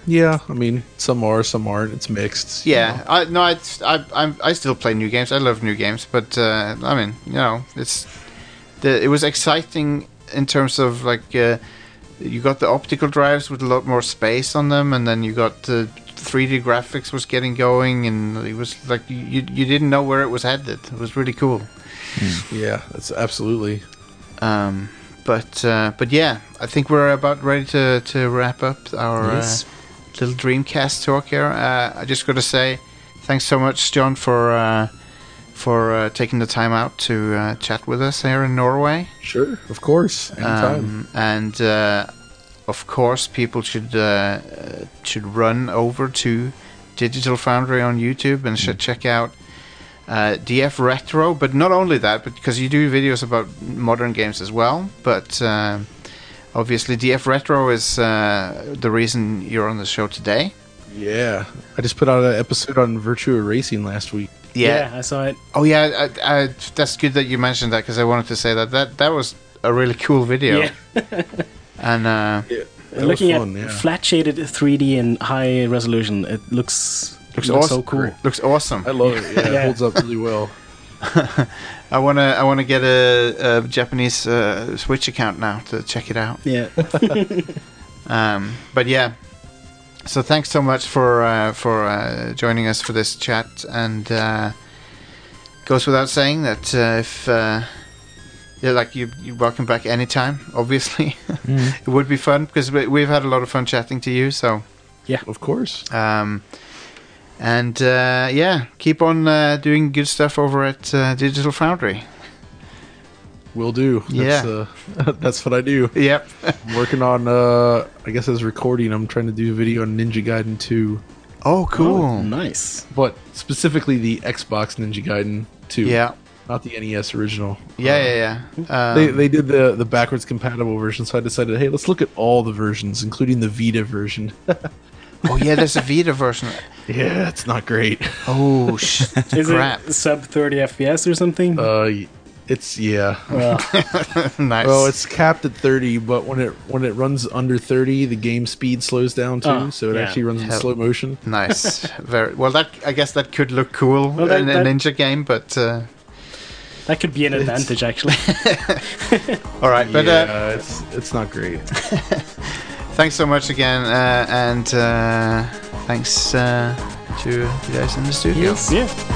[SPEAKER 2] Yeah, I mean, some are, some aren't. It's mixed. you
[SPEAKER 1] Yeah,
[SPEAKER 2] know.
[SPEAKER 1] I no, I I I'm, I still play new games. I love new games, but uh, I mean, you know, it's the it was exciting in terms of like uh, you got the optical drives with a lot more space on them, and then you got the 3D graphics was getting going, and it was like you you you didn't know where it was headed. It was really cool.
[SPEAKER 2] Yeah, that's absolutely.
[SPEAKER 1] Um, but uh, but yeah, I think we're about ready to to wrap up our
[SPEAKER 3] Yes.
[SPEAKER 1] uh, little Dreamcast talk here. Uh, I just got to say, thanks so much, John, for uh, for uh, taking the time out to uh, chat with us here in Norway.
[SPEAKER 2] Sure. Of course. Anytime.
[SPEAKER 1] Um, and uh, of course, people should uh, uh, should run over to Digital Foundry on YouTube and should check out uh, DF Retro. But not only that, but because you do videos about modern games as well. But uh, obviously, DF Retro is uh, the reason you're on the show today.
[SPEAKER 2] yeah. I just put out an episode on Virtua Racing last week.
[SPEAKER 4] I saw it.
[SPEAKER 1] Oh yeah. I, I, that's good that you mentioned that because I wanted to say that that that was a really cool video.
[SPEAKER 4] Yeah.
[SPEAKER 1] And uh,
[SPEAKER 2] Yeah. That was
[SPEAKER 4] Looking
[SPEAKER 2] fun,
[SPEAKER 4] at
[SPEAKER 2] yeah.
[SPEAKER 4] flat shaded 3D and high resolution, it looks
[SPEAKER 1] looks,
[SPEAKER 4] looks,
[SPEAKER 1] awesome.
[SPEAKER 4] so cool.
[SPEAKER 1] Looks awesome.
[SPEAKER 2] I love it. Yeah,
[SPEAKER 4] Yeah.
[SPEAKER 2] It holds up really well.
[SPEAKER 1] I wanna I wanna get a, a Japanese uh, Switch account now to check it out.
[SPEAKER 4] Yeah,
[SPEAKER 1] Um, but yeah, so thanks so much for uh, for uh, joining us for this chat. And uh, goes without saying that uh, if uh, yeah, like you you're welcome back anytime. [laughs] Obviously, it would be fun because we, we've had a lot of fun chatting to you. So.
[SPEAKER 2] Of course.
[SPEAKER 1] Um, and uh, yeah, keep on uh, doing good stuff over at uh, Digital Foundry.
[SPEAKER 2] Will do. That's,
[SPEAKER 1] Yeah.
[SPEAKER 2] uh, [laughs] that's what I do.
[SPEAKER 1] Yep.
[SPEAKER 2] I'm working on, uh, I guess as recording, I'm trying to do a video on Ninja Gaiden 2,
[SPEAKER 1] Oh, [laughs] cool.
[SPEAKER 4] Oh, nice.
[SPEAKER 2] but specifically the Xbox Ninja Gaiden 2.
[SPEAKER 1] Yeah.
[SPEAKER 2] Not the NES original.
[SPEAKER 1] Yeah, yeah, yeah. Um,
[SPEAKER 2] They, they did the, the backwards compatible version, so I decided, hey, let's look at all the versions, including the Vita version. [laughs]
[SPEAKER 1] oh, yeah, there's a Vita version.
[SPEAKER 2] yeah, it's not great. [laughs]
[SPEAKER 4] [laughs]
[SPEAKER 1] Oh, sh-
[SPEAKER 4] Is
[SPEAKER 1] crap.
[SPEAKER 4] it sub 30 FPS or something?
[SPEAKER 2] Uh, it's yeah.
[SPEAKER 1] nice.
[SPEAKER 2] Well, it's capped at 30, but when it when it runs under 30, the game speed slows down too,
[SPEAKER 4] Oh,
[SPEAKER 2] so it
[SPEAKER 4] yeah.
[SPEAKER 2] actually runs in
[SPEAKER 1] Hell.
[SPEAKER 2] slow motion.
[SPEAKER 1] nice. Very well. That I guess that could look cool
[SPEAKER 4] Well, that-
[SPEAKER 1] in a
[SPEAKER 4] that-
[SPEAKER 1] ninja game, but uh,
[SPEAKER 4] that could be an advantage, actually.
[SPEAKER 1] all right. But uh,
[SPEAKER 2] yeah, it's it's not great.
[SPEAKER 1] thanks so much again, uh, and uh, thanks uh, to you guys in the studio.
[SPEAKER 4] yeah.